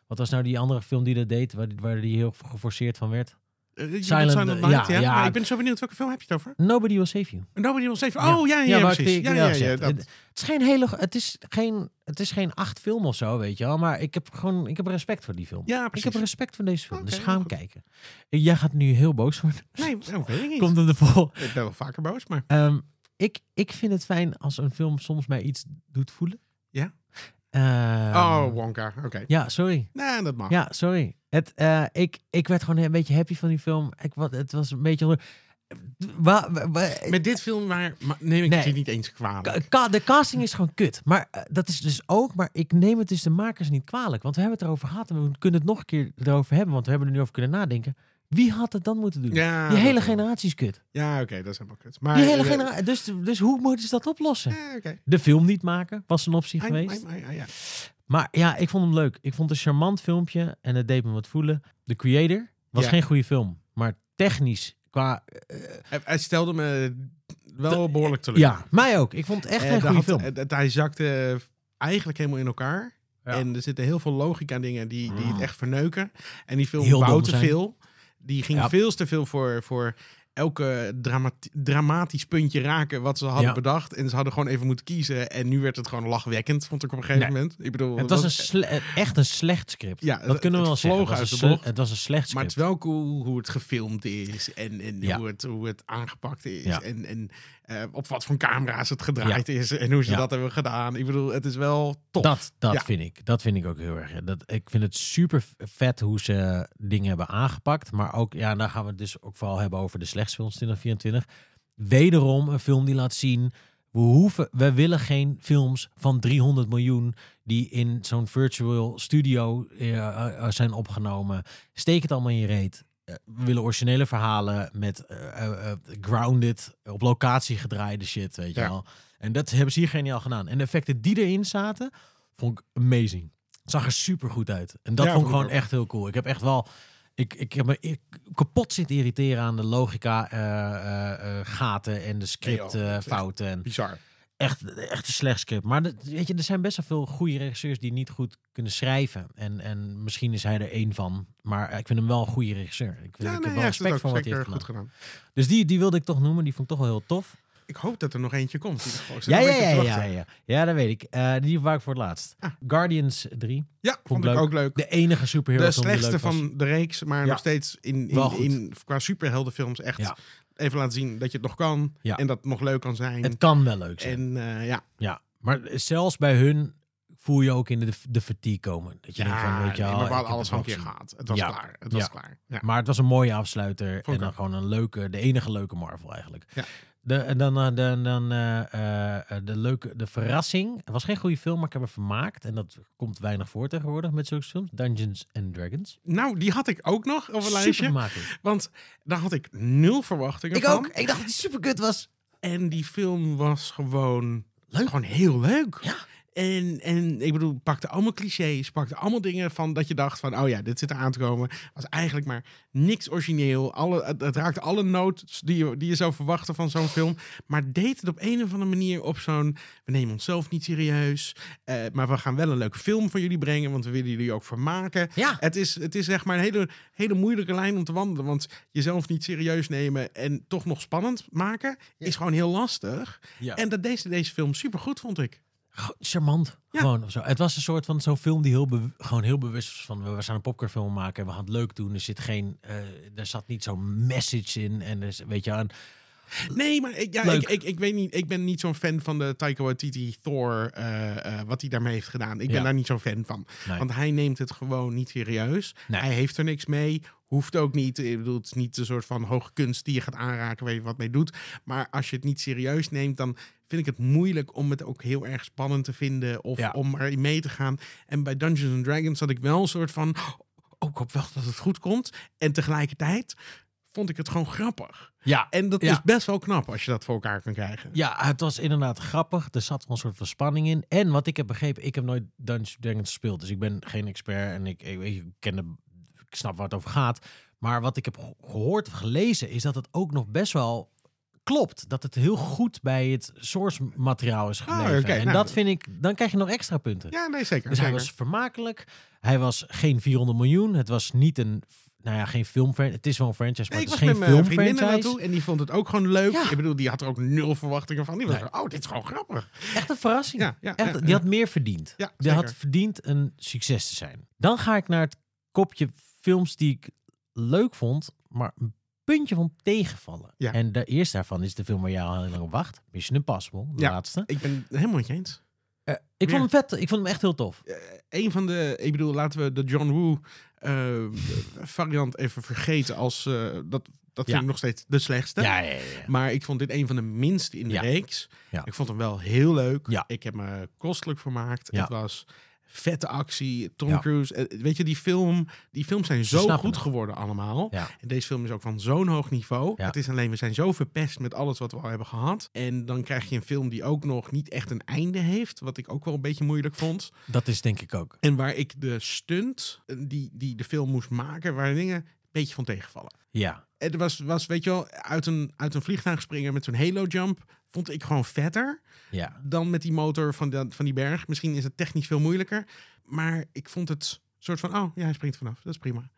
S2: wat was nou die andere film die dat deed, waar, waar die heel geforceerd van werd?
S1: Eh, je
S2: Silent-
S1: bedoelt Silent Night,
S2: ja,
S1: ja,
S2: ja.
S1: Maar ik ben zo benieuwd, welke film heb je het over?
S2: Nobody Will Save You.
S1: Nobody Will Save You. Oh, ja, ja,
S2: waar ik
S1: precies.
S2: die-
S1: Ja,
S2: die
S1: ja,
S2: al
S1: ja,
S2: zet.
S1: dat-
S2: het, het is geen hele, het is geen, het is geen acht film of zo, weet je wel. Maar ik heb gewoon, ik heb respect voor die film.
S1: ja,
S2: ik
S1: precies.
S2: heb respect voor deze film.
S1: Oké,
S2: dus ga hem
S1: goed.
S2: kijken. En Jij gaat nu heel boos worden.
S1: Nee, dat weet ik niet.
S2: [LAUGHS] Komt hem de vol.
S1: Ik ben wel vaker boos, maar...
S2: Ehm, ik, ik vind het fijn als een film soms mij iets doet voelen.
S1: Ja?
S2: Ehm,
S1: oh, Wonka, oké.
S2: Ja, sorry.
S1: Nee, dat mag.
S2: Ja, sorry. Het, eh, ik, ik werd gewoon een beetje happy van die film. Ik, wat, het was een beetje... onder- Wa- wa- wa-
S1: Met dit film waar, maar neem ik
S2: Nee.
S1: het je niet eens kwalijk.
S2: Ka- ka- de casting is gewoon kut. Maar eh, dat is dus ook. Maar ik neem het dus de makers niet kwalijk. Want we hebben het erover gehad. En we kunnen het nog een keer erover hebben. Want we hebben er nu over kunnen nadenken. Wie had het dan moeten doen?
S1: Ja,
S2: die hele
S1: dat-
S2: generatie is kut.
S1: Ja, oké, dat is helemaal kut. Maar,
S2: Die hele
S1: eh,
S2: generatie. Dus, dus hoe moeten ze dat oplossen?
S1: Ja, oké.
S2: De film niet maken was een optie
S1: Ai,
S2: geweest.
S1: ai, ai, ai, ja.
S2: Maar ja, ik vond hem leuk. Ik vond het een charmant filmpje. En het deed me wat voelen. The Creator was
S1: Ja.
S2: geen goede film. Maar technisch. Qua,
S1: Hij- Hij stelde me wel behoorlijk teleur.
S2: ja, mij ook. Ik vond het echt
S1: Eh,
S2: geen
S1: daar
S2: goede
S1: had-
S2: film.
S1: eh, dat hij zakte eigenlijk helemaal in elkaar.
S2: Ja.
S1: En er zitten heel veel logica dingen die, die het
S2: Mm.
S1: echt verneuken. En die film
S2: Heel dom
S1: wou te
S2: zijn.
S1: veel. Die ging
S2: Ja.
S1: veel te veel voor, voor elke dramati- dramatisch puntje raken wat ze hadden
S2: Ja.
S1: bedacht. En ze hadden gewoon even moeten kiezen. En nu werd het gewoon lachwekkend, vond ik op een gegeven moment. Ik bedoel,
S2: Het
S1: dat-
S2: was een sle- eh, echt een slecht script.
S1: Ja,
S2: dat
S1: het-
S2: kunnen we wel
S1: het
S2: zeggen. Het
S1: vloog
S2: was,
S1: uit
S2: een
S1: de
S2: sle-
S1: bocht.
S2: het was een slecht
S1: maar het
S2: script.
S1: is wel cool hoe het gefilmd is en, en
S2: Ja.
S1: hoe, het, hoe het aangepakt is.
S2: Ja.
S1: En, en eh, op wat voor camera's het gedraaid is en hoe ze
S2: Ja.
S1: dat hebben gedaan. Ik bedoel, het is wel tof.
S2: dat dat
S1: Ja.
S2: vind ik. Dat vind ik ook heel erg. hè. Dat, ik vind het super vet hoe ze dingen hebben aangepakt. Maar ook, ja, en daar gaan we het dus ook vooral hebben over de slechtste films 2024. Wederom een film die laat zien. We, hoeven, we willen geen films van 300 miljoen die in zo'n virtual studio eh, eh, eh, zijn opgenomen. Steek het allemaal in je reet. Eh, we willen originele verhalen met eh, eh, eh, grounded, op locatie gedraaide shit, weet je
S1: Ja.
S2: wel. En dat hebben ze hier geniaal gedaan. En de effecten die erin zaten, vond ik amazing. Zag er super goed uit. En dat
S1: Ja,
S2: vond ik
S1: vond ik
S2: gewoon echt heel cool. Ik heb echt wel. Ik, ik heb me ik- kapot zitten irriteren aan de logica eh, eh, eh, gaten en de script
S1: Nee, joh,
S2: eh,
S1: dat is echt-
S2: fouten. En
S1: Bizar.
S2: echt, echt een slecht script. Maar dat, weet je, er zijn best wel veel goede regisseurs die niet goed kunnen schrijven. En, en misschien is hij er één van. Maar ik vind hem wel een goede regisseur. Ik, vind, ik heb wel
S1: hij heeft het
S2: respect
S1: ook
S2: voor wat hij
S1: zeker
S2: heeft
S1: goed
S2: gedaan.
S1: gedaan.
S2: Dus die, die wilde ik toch noemen. Die vond ik toch wel heel tof.
S1: Ik hoop dat er nog eentje komt. in ieder geval. Ik zit
S2: Ja,
S1: nog
S2: ja,
S1: een
S2: ja,
S1: beetje
S2: ja,
S1: te
S2: ja,
S1: wachten.
S2: ja. Ja, dat weet ik. Eh, die waren ik voor het laatst.
S1: Ah.
S2: Guardians 3.
S1: Ja, vond
S2: leuk.
S1: ik ook leuk.
S2: De enige superhero
S1: De
S2: film die
S1: slechtste
S2: leuk was.
S1: van de reeks, maar
S2: Ja.
S1: nog steeds in,
S2: Wel
S1: in,
S2: goed.
S1: in, qua superheldenfilms echt
S2: Ja.
S1: even laten zien dat je het nog kan.
S2: Ja.
S1: En dat het nog leuk kan zijn.
S2: Het kan wel leuk zijn.
S1: en eh, ja,
S2: Ja, maar zelfs bij hun voel je ook in de, de fatigue komen. Dat je denkt van, weet je
S1: nee,
S2: wel,
S1: maar we
S2: ik
S1: hadden
S2: heb
S1: alles
S2: het
S1: van een
S2: wel
S1: keer
S2: gezien.
S1: gehad. Het was
S2: Ja.
S1: klaar. Het was
S2: Ja.
S1: klaar. Ja.
S2: Maar het was een mooie afsluiter.
S1: ik
S2: En dan
S1: ook.
S2: gewoon een leuke, de enige leuke Marvel eigenlijk.
S1: Ja.
S2: De, en dan eh, dan, dan eh, eh, eh, de leuke, de verrassing. Het was geen goede film, maar ik heb er vermaakt. En dat komt weinig voor tegenwoordig met zulke films. Dungeons and Dragons.
S1: Nou, die had ik ook nog op een
S2: Super
S1: lijstje.
S2: vermakelijk.
S1: Want daar had ik nul verwachtingen
S2: Ik
S1: van.
S2: ook. Ik dacht dat die super kut was.
S1: En die film was gewoon,
S2: Leuk.
S1: gewoon heel leuk.
S2: Ja.
S1: En, en ik bedoel, pakte allemaal clichés, pakte allemaal dingen van dat je dacht van, oh ja, dit zit eraan te komen. Was eigenlijk maar niks origineel. Alle, het, het raakte alle notes die je, die je zou verwachten van zo'n film. Maar deed het op een of andere manier op zo'n, we nemen onszelf niet serieus. eh, maar we gaan wel een leuke film voor jullie brengen, want we willen jullie ook vermaken.
S2: Ja.
S1: Het is, het is zeg maar een hele, hele moeilijke lijn om te wandelen. Want jezelf niet serieus nemen en toch nog spannend maken is gewoon heel lastig.
S2: Ja.
S1: En dat deed ze deze film supergoed, vond ik.
S2: Goh, charmant.
S1: Ja.
S2: Gewoon of zo. Het was een soort van zo'n film die heel, be- gewoon heel bewust was van... we we gaan een popcornfilm maken en we gaan het leuk doen. Er, zit geen, eh, er zat niet zo'n message in. En er, is- weet je, wel, en
S1: Nee, maar ik, ja,
S2: Leuk.
S1: ik, ik, ik weet niet. Ik ben niet zo'n fan van de Taika Waititi Thor, eh, eh, wat hij daarmee heeft gedaan. Ik ben
S2: Ja.
S1: daar niet zo'n fan van.
S2: Nee.
S1: Want hij neemt het gewoon niet serieus.
S2: Nee.
S1: Hij heeft er niks mee. Hoeft ook niet. Ik bedoel, het is niet een soort van hoge kunst die je gaat aanraken waar je wat mee doet. Maar als je het niet serieus neemt, dan vind ik het moeilijk om het ook heel erg spannend te vinden. Of
S2: Ja.
S1: om erin mee te gaan. En bij Dungeons and Dragons had ik wel een soort van... Oh, ik hoop wel dat het goed komt. En tegelijkertijd vond ik het gewoon grappig.
S2: ja,
S1: En dat
S2: Ja.
S1: is best wel knap als je dat voor elkaar kan krijgen.
S2: ja, het was inderdaad grappig. Er zat wel een soort van spanning in. En wat ik heb begrepen, ik heb nooit Dungeons Dragons gespeeld. Dus ik ben geen expert en ik, ik, ik ken de, ik snap waar het over gaat. Maar wat ik heb ge- gehoord of gelezen is dat het ook nog best wel klopt. Dat het heel goed bij het source materiaal is gebleven.
S1: oké,
S2: en
S1: nou,
S2: dat vind ik, dan krijg je nog extra punten.
S1: Ja, nee, zeker.
S2: Dus hij
S1: zeker.
S2: was vermakelijk. Hij was geen 400 miljoen. Het was niet een, nou ja, geen filmfranchise. Het is wel een franchise, maar
S1: Nee, ik
S2: het is
S1: was
S2: geen
S1: met mijn vriendinnen
S2: filmfranchise.
S1: naartoe en die vond het ook gewoon leuk.
S2: Ja.
S1: Ik bedoel, die had er ook nul verwachtingen van. Die was
S2: Nee.
S1: van, oh, dit is gewoon grappig.
S2: Echt een verrassing.
S1: Ja, ja,
S2: Echt,
S1: ja,
S2: die
S1: ja.
S2: had meer verdiend.
S1: Ja,
S2: die had
S1: zeker.
S2: verdiend een succes te zijn. Dan ga ik naar het kopje films die ik leuk vond, maar een puntje van tegenvallen.
S1: Ja.
S2: En de eerste daarvan is de film waar jij al heel lang op wacht. Mission Impossible, de
S1: Ja.
S2: laatste.
S1: Ik ben het helemaal niet eens.
S2: Eh, ik
S1: Weer.
S2: vond hem vet. Ik vond hem echt heel tof.
S1: Een van de, ik bedoel, laten we de John Woo eh, variant even vergeten als, eh, dat, dat vind
S2: Ja.
S1: ik nog steeds de slechtste.
S2: Ja, ja, ja, ja.
S1: Maar ik vond dit een van de minste in de
S2: Ja.
S1: reeks.
S2: Ja.
S1: Ik vond hem wel heel leuk.
S2: Ja.
S1: Ik heb me kostelijk vermaakt.
S2: Ja.
S1: Het was vette actie. Tom
S2: Ja.
S1: Cruise. eh, Weet je, die, film, die films zijn zo
S2: snappen
S1: goed
S2: het.
S1: geworden allemaal.
S2: Ja.
S1: En deze film is ook van zo'n hoog niveau.
S2: Ja.
S1: Het is alleen, we zijn zo verpest met alles wat we al hebben gehad. En dan krijg je een film die ook nog niet echt een einde heeft. Wat ik ook wel een beetje moeilijk vond.
S2: Dat is denk ik ook.
S1: En waar ik de stunt eh, die, die de film moest maken, waar dingen een beetje van tegenvallen.
S2: Ja.
S1: Het was, was, weet je wel, uit een, uit een vliegtuig springen met zo'n halo jump vond ik gewoon vetter
S2: Ja.
S1: dan met die motor van, dat- van die berg. Misschien is het technisch veel moeilijker, maar ik vond het soort van, oh ja, hij springt vanaf, dat is prima.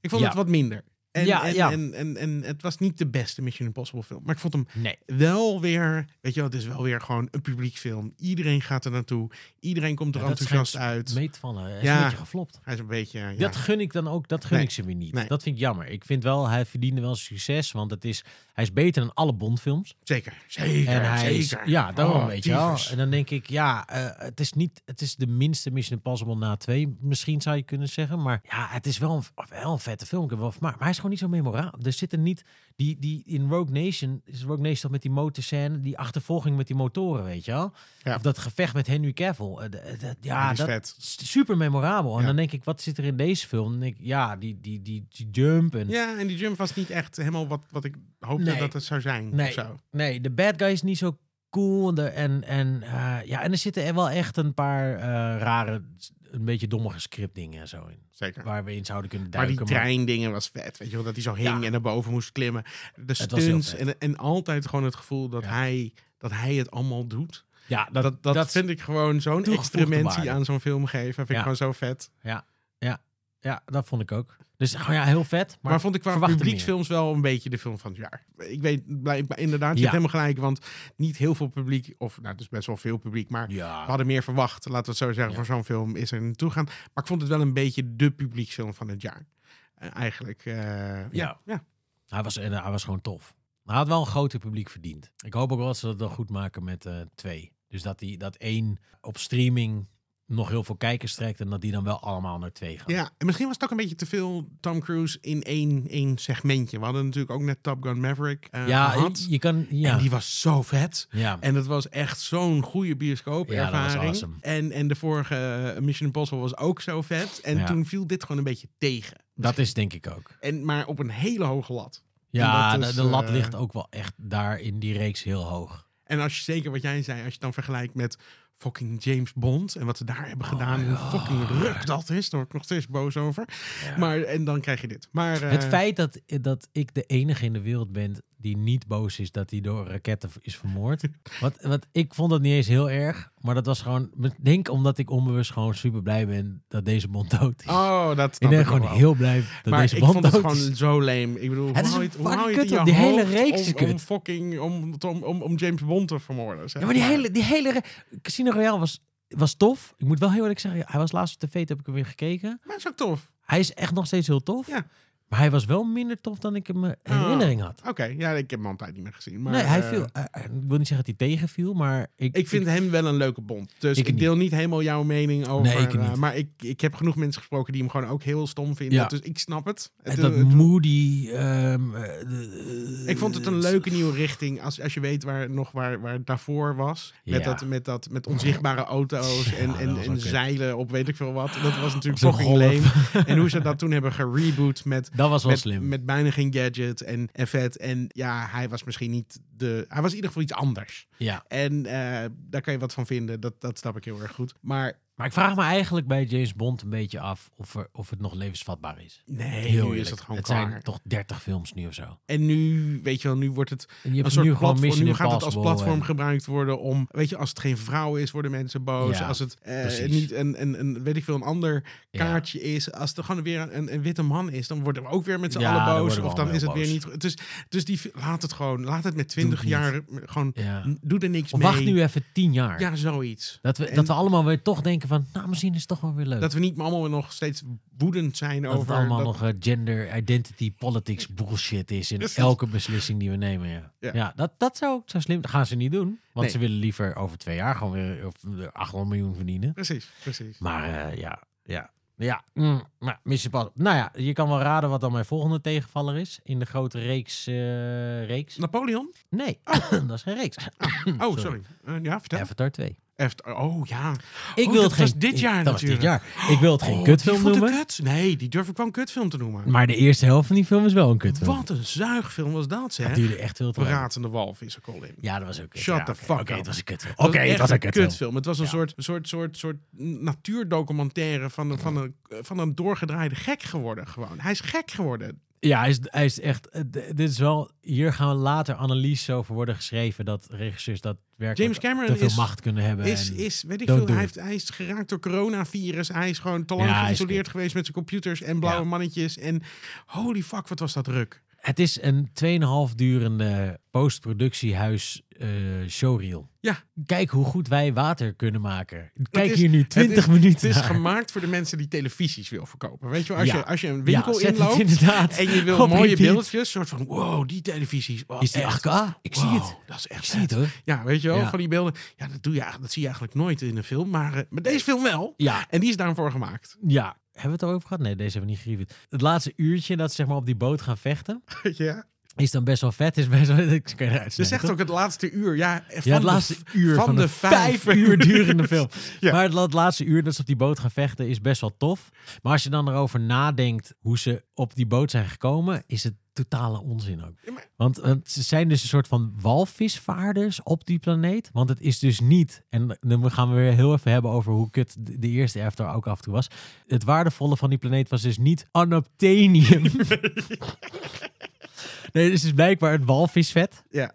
S1: Ik vond
S2: Ja.
S1: het wat minder. En,
S2: Ja,
S1: en,
S2: ja.
S1: En, en, en het was niet de beste Mission Impossible film, maar ik vond hem
S2: Nee.
S1: wel weer, weet je wel, het is wel weer gewoon een publieksfilm. Iedereen gaat er naartoe, iedereen komt er
S2: Ja, dat
S1: enthousiast
S2: schijnt
S1: uit.
S2: Mee te vallen. Hij is
S1: Ja.
S2: een beetje geflopt.
S1: Hij is een beetje, ja.
S2: Dat gun ik dan ook, dat gun
S1: Nee.
S2: ik ze weer niet.
S1: Nee.
S2: Dat vind ik jammer. Ik vind wel, hij verdiende wel succes, want het is, hij is beter dan alle Bondfilms.
S1: zeker, zeker,
S2: en hij is-
S1: zeker.
S2: ja, daarom
S1: Oh,
S2: weet je wel.
S1: tyfus.
S2: En dan denk ik, ja, eh, het is niet, het is de minste Mission Impossible na twee, misschien zou je kunnen zeggen, maar ja, het is wel een, wel een vette film. Ik heb wel vermaakt, maar hij is gewoon niet zo memorabel. Er zitten niet die, die in Rogue Nation is Rogue Nation toch met die motorscène, die achtervolging met die motoren, weet je wel?
S1: Ja.
S2: Of dat gevecht met Henry Cavill. Eh, d- d-
S1: Die
S2: ja,
S1: is
S2: dat,
S1: vet.
S2: s- super memorabel. En
S1: Ja.
S2: dan denk ik, wat zit er in deze film? Dan denk ik, ja, die, die, die, die jump en...
S1: Ja, en die jump was niet echt helemaal wat, wat ik hoopte
S2: Nee.
S1: dat het zou zijn. of
S2: nee,
S1: zo.
S2: nee, de bad guy is niet zo cool. En, de, en, en, eh, ja, en er zitten er wel echt een paar eh, rare, een beetje dommige scriptdingen en zo in.
S1: Zeker.
S2: Waar we in zouden kunnen
S1: maar
S2: duiken.
S1: die treindingen was vet, weet je wel, dat hij zo hing
S2: Ja.
S1: en naar boven moest klimmen. De
S2: was heel
S1: stunts
S2: vet.
S1: en, en altijd gewoon het gevoel dat,
S2: Ja.
S1: hij, dat hij het allemaal doet.
S2: ja, dat,
S1: Dat, dat,
S2: dat is-
S1: vind ik gewoon zo'n
S2: toegevoegde waarde.
S1: experimentie aan zo'n film geven, vind ik
S2: Ja.
S1: gewoon zo vet.
S2: ja, dat vond ik ook. Dus gewoon ja, heel vet. Maar,
S1: Maar, vond ik qua
S2: verwacht er
S1: publieksfilms wel een beetje de film van het jaar. Ik weet, blijkbaar, inderdaad, je
S2: Ja.
S1: hebt helemaal gelijk, want niet heel veel publiek, of nou, dus best wel veel publiek, maar we
S2: ja,
S1: hadden meer verwacht, laten we het zo zeggen,
S2: Ja.
S1: voor zo'n film is er naartoe gaan. Maar ik vond het wel een beetje de publieksfilm van het jaar. Eh, eigenlijk, eh, ja. ja.
S2: hij was, en hij was gewoon tof. Hij had wel een groter publiek verdiend. Ik hoop ook wel dat ze dat dan goed maken met eh, twee. Dus dat, die, dat één op streaming nog heel veel kijkers trekt en dat die dan wel allemaal naar twee gaan.
S1: Ja, en misschien was het ook een beetje te veel Tom Cruise in één, één segmentje. We hadden natuurlijk ook net Top Gun Maverick eh,
S2: Ja,
S1: gehad.
S2: je, je kan. Ja,
S1: En die was zo vet.
S2: ja.
S1: En dat was echt zo'n goede bioscoopervaring.
S2: Ja, dat was awesome.
S1: en, en de vorige eh, Mission Impossible was ook zo vet. En
S2: Ja.
S1: toen viel dit gewoon een beetje tegen.
S2: dat is denk ik ook.
S1: En, maar op een hele hoge lat.
S2: Ja,
S1: En dat
S2: de,
S1: is,
S2: de lat
S1: eh,
S2: ligt ook wel echt daar in die reeks heel hoog.
S1: En als je zeker wat jij zei, als je het dan vergelijkt met fucking James Bond en wat ze daar
S2: Oh
S1: hebben gedaan, en hoe fucking ruk dat is, daar word ik nog steeds boos over. Maar en dan krijg je dit. Maar eh,
S2: Het feit dat, dat ik de enige in de wereld ben die niet boos is dat hij door raketten is
S1: [LAUGHS]
S2: vermoord. wat, wat, ik vond dat niet eens heel erg. Maar dat was gewoon, ik denk omdat ik onbewust gewoon super blij ben dat deze bond dood is.
S1: oh, dat
S2: ik
S1: snap
S2: ben
S1: ik nog
S2: gewoon
S1: wel.
S2: heel blij dat
S1: maar
S2: deze
S1: ik
S2: bond
S1: vond
S2: dood
S1: het
S2: is.
S1: gewoon zo lame. Ik bedoel,
S2: Het
S1: hoe
S2: is
S1: hou
S2: een
S1: je het, hoe
S2: fucking
S1: hou je het in
S2: kut,
S1: je
S2: want die hele
S1: hoofd
S2: reeks is
S1: om, om
S2: kut.
S1: fucking om, om, om, om James Bond te vermoorden? zeg
S2: Ja, maar die hele, die hele re- Casino Royale was, was tof. Ik moet wel heel eerlijk zeggen, hij was laatst op tv, toen heb ik hem weer gekeken.
S1: Maar het is ook tof.
S2: Hij is echt nog steeds heel tof.
S1: Ja. Oh.
S2: Maar hij was wel minder tof dan ik hem eh, herinnering had.
S1: Oké, ja, ik heb hem al een tijd niet meer gezien. Maar,
S2: nee, hij
S1: eh,
S2: viel. eh, eh, ik wil niet zeggen dat hij tegenviel, maar ik,
S1: Ik vind hem wel een leuke bond. Dus
S2: Ik
S1: ik, deel niet helemaal jouw mening over.
S2: Nee, ik
S1: eh,
S2: niet.
S1: maar ik, ik heb genoeg mensen gesproken die hem gewoon ook heel stom vinden.
S2: Ja.
S1: Dus ik snap het.
S2: en
S1: Het-
S2: eh,
S1: eh,
S2: dat
S1: het-
S2: moody. ehm, eh, eh,
S1: ik vond het een leuke nieuwe richting. Als, als je weet waar nog waar, waar het daarvoor was. Met,
S2: Ja.
S1: dat, met, dat, met onzichtbare auto's
S2: Ja,
S1: en,
S2: dat
S1: en,
S2: was ook
S1: en
S2: kut.
S1: zeilen op weet ik veel wat. Dat was
S2: Op
S1: natuurlijk
S2: zo'n
S1: fucking lame.
S2: golf.
S1: En hoe ze
S2: [LAUGHS]
S1: dat toen hebben gereboot met
S2: Dat was wel
S1: met,
S2: slim.
S1: met bijna geen gadget en, en vet. En ja, hij was misschien niet de. Hij was in ieder geval iets anders.
S2: ja.
S1: En eh, daar kan je wat van vinden. Dat, dat snap ik heel erg goed. Maar
S2: Maar ik vraag me eigenlijk bij James Bond een beetje af of, er, of het nog levensvatbaar is.
S1: nee,
S2: Heel
S1: nu
S2: eerlijk.
S1: is dat gewoon
S2: het
S1: klaar.
S2: zijn toch 30 films nu of zo.
S1: En nu, weet je wel, nu wordt het
S2: En je hebt
S1: een soort
S2: nu gewoon
S1: platform.
S2: Mission
S1: Nu gaat het als
S2: Impossible
S1: platform
S2: en-
S1: gebruikt worden om, weet je, als het geen vrouw is, worden mensen boos.
S2: Ja,
S1: als het eh,
S2: precies.
S1: niet een, een, een, weet ik veel, een ander
S2: Ja.
S1: kaartje is. Als er gewoon weer een, een witte man is, dan worden we ook weer met z'n
S2: Ja, dan
S1: allen boos.
S2: worden we
S1: Of dan
S2: allemaal
S1: is het weer
S2: boos.
S1: niet. Dus, dus die, laat het gewoon, laat het met
S2: het
S1: 20
S2: niet.
S1: jaar eh, gewoon
S2: Ja.
S1: N- Doe er niks
S2: Of
S1: mee.
S2: wacht nu even 10 jaar.
S1: Ja, zoiets.
S2: Dat, we,
S1: En-
S2: dat we allemaal weer toch denken van, nou misschien is het toch wel weer leuk.
S1: Dat we niet allemaal nog steeds woedend zijn
S2: Dat het
S1: over...
S2: allemaal
S1: dat-
S2: nog eh, gender identity politics bullshit is in
S1: Precies.
S2: elke beslissing die we nemen. Ja, ja.
S1: Ja.
S2: dat, dat zou ook zo slim. Dat gaan ze niet doen. Want
S1: Nee.
S2: ze willen liever over twee jaar gewoon weer of, eh, 800 miljoen verdienen.
S1: Precies, precies.
S2: Maar eh, ja, ja. Ja, mm, maar Mission Impossible. Nou ja, je kan wel raden wat dan mijn volgende tegenvaller is in de grote reeks. eh, reeks.
S1: Napoleon?
S2: Nee, [CLEARS THROAT] dat is geen reeks.
S1: Nou. Oh, sorry. Eh, ja, vertel.
S2: Avatar 2.
S1: Eft- oh, ja.
S2: Ik
S1: Oh,
S2: wil
S1: dat
S2: het geen,
S1: was dit jaar
S2: dat was dit
S1: natuurlijk.
S2: jaar. Ik wil het geen
S1: Oh,
S2: kutfilm
S1: die vond ik
S2: noemen.
S1: kut. Nee, die durf ik wel een kutfilm te noemen.
S2: Maar de eerste helft van die film is wel een kutfilm.
S1: Wat een zuigfilm was dat,
S2: Het
S1: zeg.
S2: duurde echt heel te lang.
S1: Pratende walvissen, Colin.
S2: Ja, dat was ook.
S1: Shut the fuck
S2: Oké,
S1: up.
S2: het was een kut.
S1: Het
S2: Oké, het
S1: echt
S2: was een
S1: een
S2: kut.
S1: kutfilm. Het was een
S2: Ja.
S1: soort, soort, soort, soort natuurdocumentaire van een, van, een, van een doorgedraaide gek geworden. Gewoon. Hij is gek geworden.
S2: Ja, hij is, hij is echt. eh, d- Dit is wel. Hier gaan we later analyses over worden geschreven dat regisseurs dat werkelijk
S1: James Cameron
S2: te veel
S1: is-
S2: macht kunnen hebben.
S1: Is,
S2: en-
S1: is, weet ik
S2: don't
S1: veel,
S2: do
S1: hij,
S2: it.
S1: heeft, hij is geraakt door coronavirus. Hij is gewoon te lang
S2: Ja, hij is
S1: geïsoleerd
S2: kut.
S1: geweest met zijn computers en blauwe
S2: Ja.
S1: mannetjes. En holy fuck, wat was dat druk.
S2: Het is een 2,5 durende postproductiehuis eh showreel.
S1: Ja.
S2: Kijk hoe goed wij water kunnen maken. Kijk
S1: is-
S2: hier nu
S1: het
S2: 20
S1: is- Het
S2: minuten.
S1: is
S2: naar.
S1: gemaakt voor de mensen die televisies wil verkopen. Weet je wel, als,
S2: Ja.
S1: je, als je een
S2: Ja,
S1: winkel
S2: zet het
S1: inloopt
S2: inderdaad
S1: en je wil
S2: [LAUGHS] op
S1: mooie
S2: repeat.
S1: beeldjes. soort van, wow, die televisies. wow,
S2: Is die
S1: echt.
S2: 8K? Ik zie
S1: Wow,
S2: het.
S1: Dat is
S2: Ik
S1: echt
S2: zie het
S1: vet.
S2: hoor.
S1: Ja, weet je wel,
S2: Ja.
S1: van die beelden. Ja, dat, doe je, eigenlijk- dat zie je eigenlijk nooit in een film, maar, eh, maar deze film wel.
S2: Ja,
S1: En die is daarvoor gemaakt. [LAUGHS]
S2: ja. Hebben we het al over gehad? Nee, deze hebben we niet gereviewd. Het laatste uurtje dat ze zeg maar op die boot gaan vechten.
S1: ja.
S2: is dan best wel vet. Is best wel. [LAUGHS] Ik kan je eruit
S1: Ze
S2: snijden,
S1: zegt
S2: toch?
S1: ook het laatste uur. Ja, van
S2: Ja, het
S1: de-
S2: laatste uur van, de, vijf uur durende film.
S1: [LAUGHS] Ja.
S2: Maar het la- het laatste uur dat ze op die boot gaan vechten is best wel tof. Maar als je dan erover nadenkt hoe ze op die boot zijn gekomen, is het totale onzin ook.
S1: Ja, maar-
S2: Want, want ze zijn dus een soort van walvisvaarders op die planeet. Want het is dus niet, en dan gaan we weer heel even hebben over hoe kut de de eerste After ook af en toe was. Het waardevolle van die planeet was dus niet
S1: [LAUGHS]
S2: unobtainium. Nee, dus het is blijkbaar het walvisvet.
S1: Ja.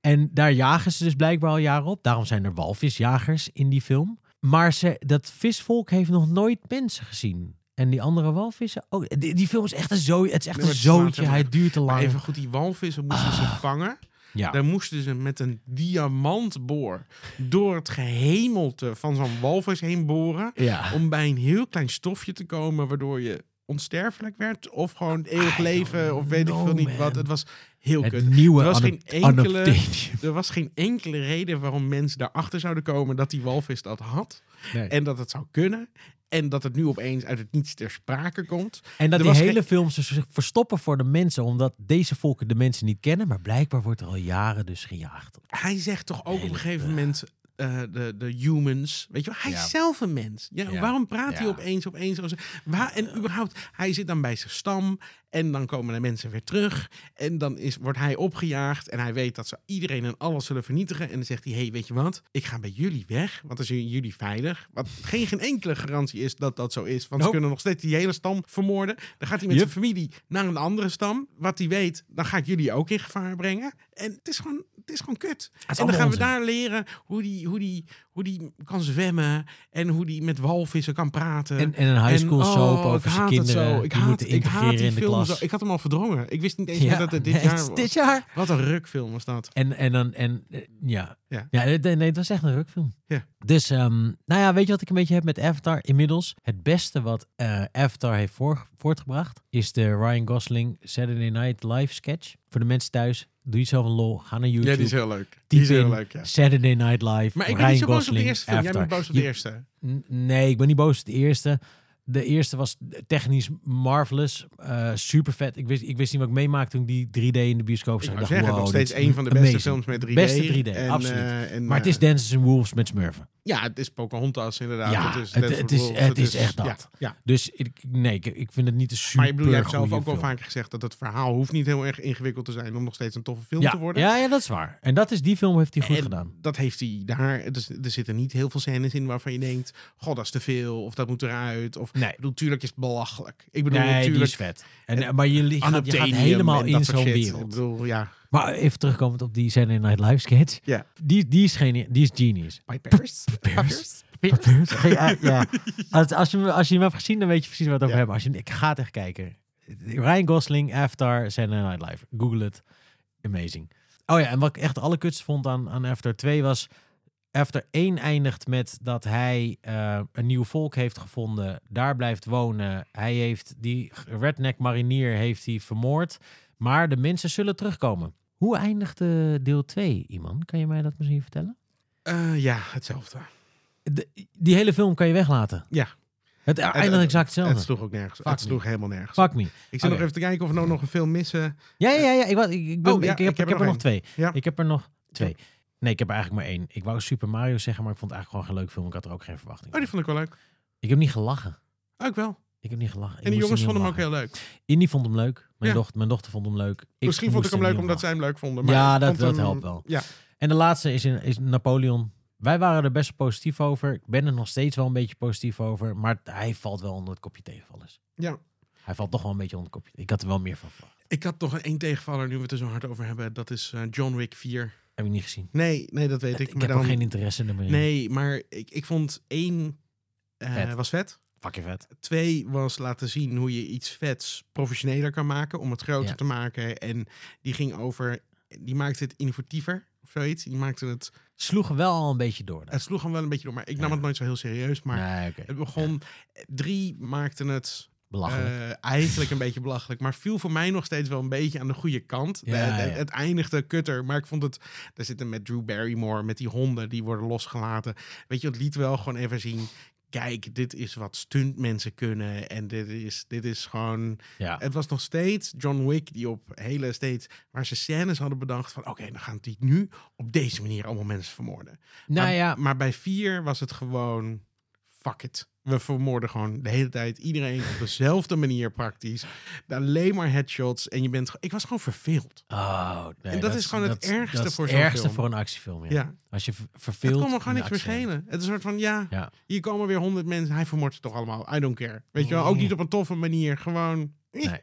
S2: En daar jagen ze dus blijkbaar al jaren op. Daarom zijn er walvisjagers in die film. Maar ze, dat visvolk heeft nog nooit mensen gezien. En die andere walvissen ook. Die, die film is echt een zooi. Het is echt
S1: Nee,
S2: een
S1: maar het slaat
S2: zootje.
S1: helemaal
S2: Hij duurt te
S1: Maar
S2: lang. Ah.
S1: even goed, die walvissen moesten ze vangen.
S2: ja.
S1: Daar moesten ze met een diamantboor door het gehemelte van zo'n walvis heen boren.
S2: ja.
S1: Om bij een heel klein stofje te komen waardoor je onsterfelijk werd. Of gewoon eeuwig
S2: I
S1: leven,
S2: don't
S1: of weet ik
S2: know,
S1: veel niet wat.
S2: man.
S1: Het was heel
S2: Het
S1: kut.
S2: nieuwe
S1: Er was
S2: Anno-
S1: geen enkele-
S2: Anoptanium.
S1: Er was geen enkele reden waarom mensen daarachter zouden komen dat die walvis dat had.
S2: Nee.
S1: En dat het zou kunnen. En dat het nu opeens uit het niets ter sprake komt.
S2: En dat
S1: Er
S2: die
S1: was
S2: hele films dus zich verstoppen voor de mensen, omdat deze volken de mensen niet kennen. Maar blijkbaar wordt er al jaren dus gejaagd.
S1: Hij zegt toch ook op een
S2: Hele-
S1: gegeven moment... eh, de, de humans, weet je wel, hij
S2: Ja.
S1: is zelf een mens. Ja,
S2: Ja.
S1: Waarom praat hij
S2: Ja.
S1: opeens, opeens? zo- Waar, en überhaupt, hij zit dan bij zijn stam en dan komen de mensen weer terug en dan is, wordt hij opgejaagd en hij weet dat ze iedereen en alles zullen vernietigen en dan zegt hij, hé, hey, weet je wat? Ik ga bij jullie weg, want dan zijn jullie veilig. Wat geen, geen enkele garantie is dat dat zo is, want ze
S2: Nope.
S1: kunnen nog steeds die hele stam vermoorden. Dan gaat hij met
S2: Yep.
S1: zijn familie naar een andere stam. Wat hij weet, dan ga ik jullie ook in gevaar brengen. En het is gewoon, het is gewoon kut. En dan
S2: allemaal
S1: gaan we
S2: onzin.
S1: daar leren hoe die, hoe, die, hoe die kan zwemmen en hoe die met walvissen kan praten.
S2: En, en een high school
S1: En,
S2: soap
S1: oh,
S2: over
S1: ik
S2: zijn
S1: haat
S2: kinderen
S1: het zo. Ik
S2: die
S1: haat,
S2: moeten
S1: ik haat
S2: integreren
S1: die
S2: in de
S1: film
S2: klas.
S1: Zo. Ik had hem al verdrongen. Ik wist niet eens meer dat het
S2: [LAUGHS]
S1: dit
S2: nee,
S1: jaar
S2: het is
S1: was.
S2: dit jaar.
S1: Wat een rukfilm was dat.
S2: En, en dan, en eh, ja.
S1: Ja.
S2: Ja, het- nee, het was echt een rukfilm.
S1: Ja.
S2: Dus, ehm, nou ja, weet je wat ik een beetje heb met Avatar? Inmiddels, het beste wat eh, Avatar heeft voor- voortgebracht, is de Ryan Gosling Saturday Night Live sketch. Voor de mensen thuis, doe jezelf een lol, ga naar YouTube.
S1: heel leuk.
S2: Typ in Saturday Night Live,
S1: Maar ik ben
S2: Ryan
S1: niet zo boos op de
S2: Gosling,
S1: eerste film. Jij
S2: Avatar.
S1: bent boos op de
S2: Je- Oh,
S1: eerste.
S2: N- Nee, ik ben niet boos op de eerste. De eerste was technisch marvelous, eh, super vet. Ik wist, ik wist niet wat ik meemaakte toen die 3D in de bioscoop
S1: Ik
S2: zag.
S1: zou
S2: dacht,
S1: zeggen, nog
S2: wow,
S1: steeds
S2: dit is
S1: een van de beste
S2: amazing.
S1: films met 3D.
S2: Beste 3D,
S1: En,
S2: absoluut.
S1: eh, en,
S2: Maar het
S1: eh,
S2: is Dances and Wolves met Smurfen.
S1: Ja, het is Pocahontas inderdaad.
S2: Ja,
S1: het is,
S2: het-
S1: Dance
S2: het
S1: with
S2: is-
S1: Wolves,
S2: het is echt dat.
S1: Ja, ja.
S2: Dus ik, nee, ik, ik vind het niet een super
S1: Maar je bedoelt, jij hebt zelf
S2: goede
S1: ook wel
S2: film.
S1: vaker gezegd dat het verhaal hoeft niet heel erg ingewikkeld te zijn om nog steeds een toffe film
S2: ja,
S1: te worden.
S2: Ja, ja, dat is waar. En dat is, die film heeft hij goed
S1: En
S2: gedaan.
S1: Dat heeft hij daar. Dus er zitten niet heel veel scènes in waarvan je denkt: God, dat is te veel. Of dat moet eruit. Of
S2: Nee.
S1: ik bedoel, tuurlijk is het belachelijk. Ik bedoel,
S2: Nee, die is
S1: natuurlijk.
S2: vet. En, eh, maar je, li- je gaat, je gaat
S1: Unobtainium
S2: helemaal
S1: en dat
S2: in
S1: soort
S2: zo'n
S1: shit.
S2: wereld.
S1: Ik bedoel, ja.
S2: Maar even terugkomend op die Saturday Night Live sketch.
S1: Ja.
S2: Die, die, is geni- die is genius.
S1: By Paris. Paris.
S2: Ja, ja. Als, als, je, hem- als je hem hebt gezien, dan weet je precies wat we het over
S1: Ja.
S2: hebben. Als je, hem- ik ga het echt kijken. Ryan Gosling, Avatar, Saturday Night Live. Google het. Amazing. Oh ja, en wat ik echt alle kutst vond aan, aan Avatar 2 was... Avatar 1 eindigt met dat hij eh, een nieuw volk heeft gevonden. Daar blijft wonen. Hij heeft die redneck marinier heeft hij vermoord. Maar de mensen zullen terugkomen. Hoe eindigde deel 2, iemand? Kan je mij dat misschien vertellen?
S1: Eh, ja, hetzelfde.
S2: De- die hele film kan je weglaten.
S1: Ja.
S2: Het eindigt
S1: het-
S2: exact hetzelfde.
S1: Het sloeg ook nergens.
S2: Fuck
S1: het sloeg
S2: me.
S1: helemaal nergens.
S2: Fuck me.
S1: Ik zit nog
S2: Oké.
S1: even te kijken of we nou nog een film missen.
S2: Ja, ja, ja. Ik, wa- ik, ik, ben-
S1: Oh, ja,
S2: ik, heb, ik heb er nog
S1: één.
S2: twee.
S1: Ja.
S2: Ik heb er nog twee. Nee, ik heb er eigenlijk maar één. Ik wou Super Mario zeggen, maar ik vond het eigenlijk gewoon geen leuk film. Ik had er ook geen verwachting.
S1: Oh, die vond ik wel leuk.
S2: Ik heb niet gelachen.
S1: Ook wel.
S2: Ik heb niet gelachen. Ik
S1: En die
S2: moest er
S1: jongens
S2: niet om
S1: vonden hem ook
S2: lachen.
S1: heel leuk.
S2: Indy vond hem leuk. Mijn,
S1: Ja.
S2: dochter, mijn dochter vond hem leuk.
S1: Misschien vond ik
S2: moest
S1: hem
S2: er
S1: leuk
S2: niet om
S1: omdat zij
S2: lachen.
S1: hem leuk vonden. Maar
S2: Ja,
S1: ik
S2: dat-
S1: vond
S2: dat
S1: hem-
S2: helpt wel.
S1: Ja.
S2: En de laatste is, in, is Napoleon. Wij waren er best positief over. Ik ben er nog steeds wel een beetje positief over. Maar hij valt wel onder het kopje tegenvallers.
S1: Ja.
S2: Hij valt toch wel een beetje onder het kopje. Ik had er wel meer van verwacht.
S1: Ik had nog één tegenvaller nu we het er zo hard over hebben. Dat is eh, John Wick 4.
S2: Heb ik niet gezien.
S1: Nee, nee, dat weet ik.
S2: Ik,
S1: maar
S2: heb
S1: dan-
S2: ook geen interesse meer in.
S1: Nee, maar ik, ik vond één eh,
S2: Vet.
S1: was vet.
S2: Fuck je vet.
S1: Twee was laten zien hoe je iets vets professioneler kan maken. Om het groter
S2: Ja.
S1: te maken. En die ging over... Die maakte het innovatiever of zoiets. Die maakte het...
S2: Sloegen wel al een beetje door. daar.
S1: Het sloeg hem wel een beetje door. Maar ik nam
S2: Ja.
S1: het nooit zo heel serieus. Maar
S2: nee, oké.
S1: het begon... eh, Drie maakte het...
S2: Belachelijk.
S1: Eh, eigenlijk een beetje belachelijk. Maar viel voor mij nog steeds wel een beetje aan de goede kant. De-
S2: Ja,
S1: de-
S2: ja.
S1: Het eindigde kutter. Maar ik vond het. Daar zitten met Drew Barrymore, met die honden die worden losgelaten. Weet je, het liet wel gewoon even zien. Kijk, dit is wat stunt mensen kunnen. En dit is, dit is gewoon.
S2: ja.
S1: Het was nog steeds John Wick die op hele steeds. waar ze scènes hadden bedacht. van oké, dan gaan die nu op deze manier allemaal mensen vermoorden.
S2: nou
S1: maar,
S2: ja,
S1: maar bij vier was het gewoon. Fuck it. We vermoorden gewoon de hele tijd iedereen op dezelfde manier praktisch. Alleen maar headshots. En je bent. ge- Ik was gewoon verveeld.
S2: oh, nee,
S1: En dat is gewoon het ergste
S2: dat is
S1: voor
S2: het
S1: zo'n
S2: ergste
S1: film.
S2: voor een actiefilm. Ja.
S1: Ja.
S2: Als je ver-
S1: Het
S2: verveelt.
S1: kon me gewoon
S2: in
S1: niks
S2: de
S1: meer
S2: actiescène.
S1: schelen. Het is een soort van ja.
S2: Ja.
S1: Hier komen weer honderd mensen. Hij vermoordt ze toch allemaal. I don't care. Weet je wel? Ook
S2: Nee.
S1: niet op een toffe manier. Gewoon. eh.
S2: Mm. Nee.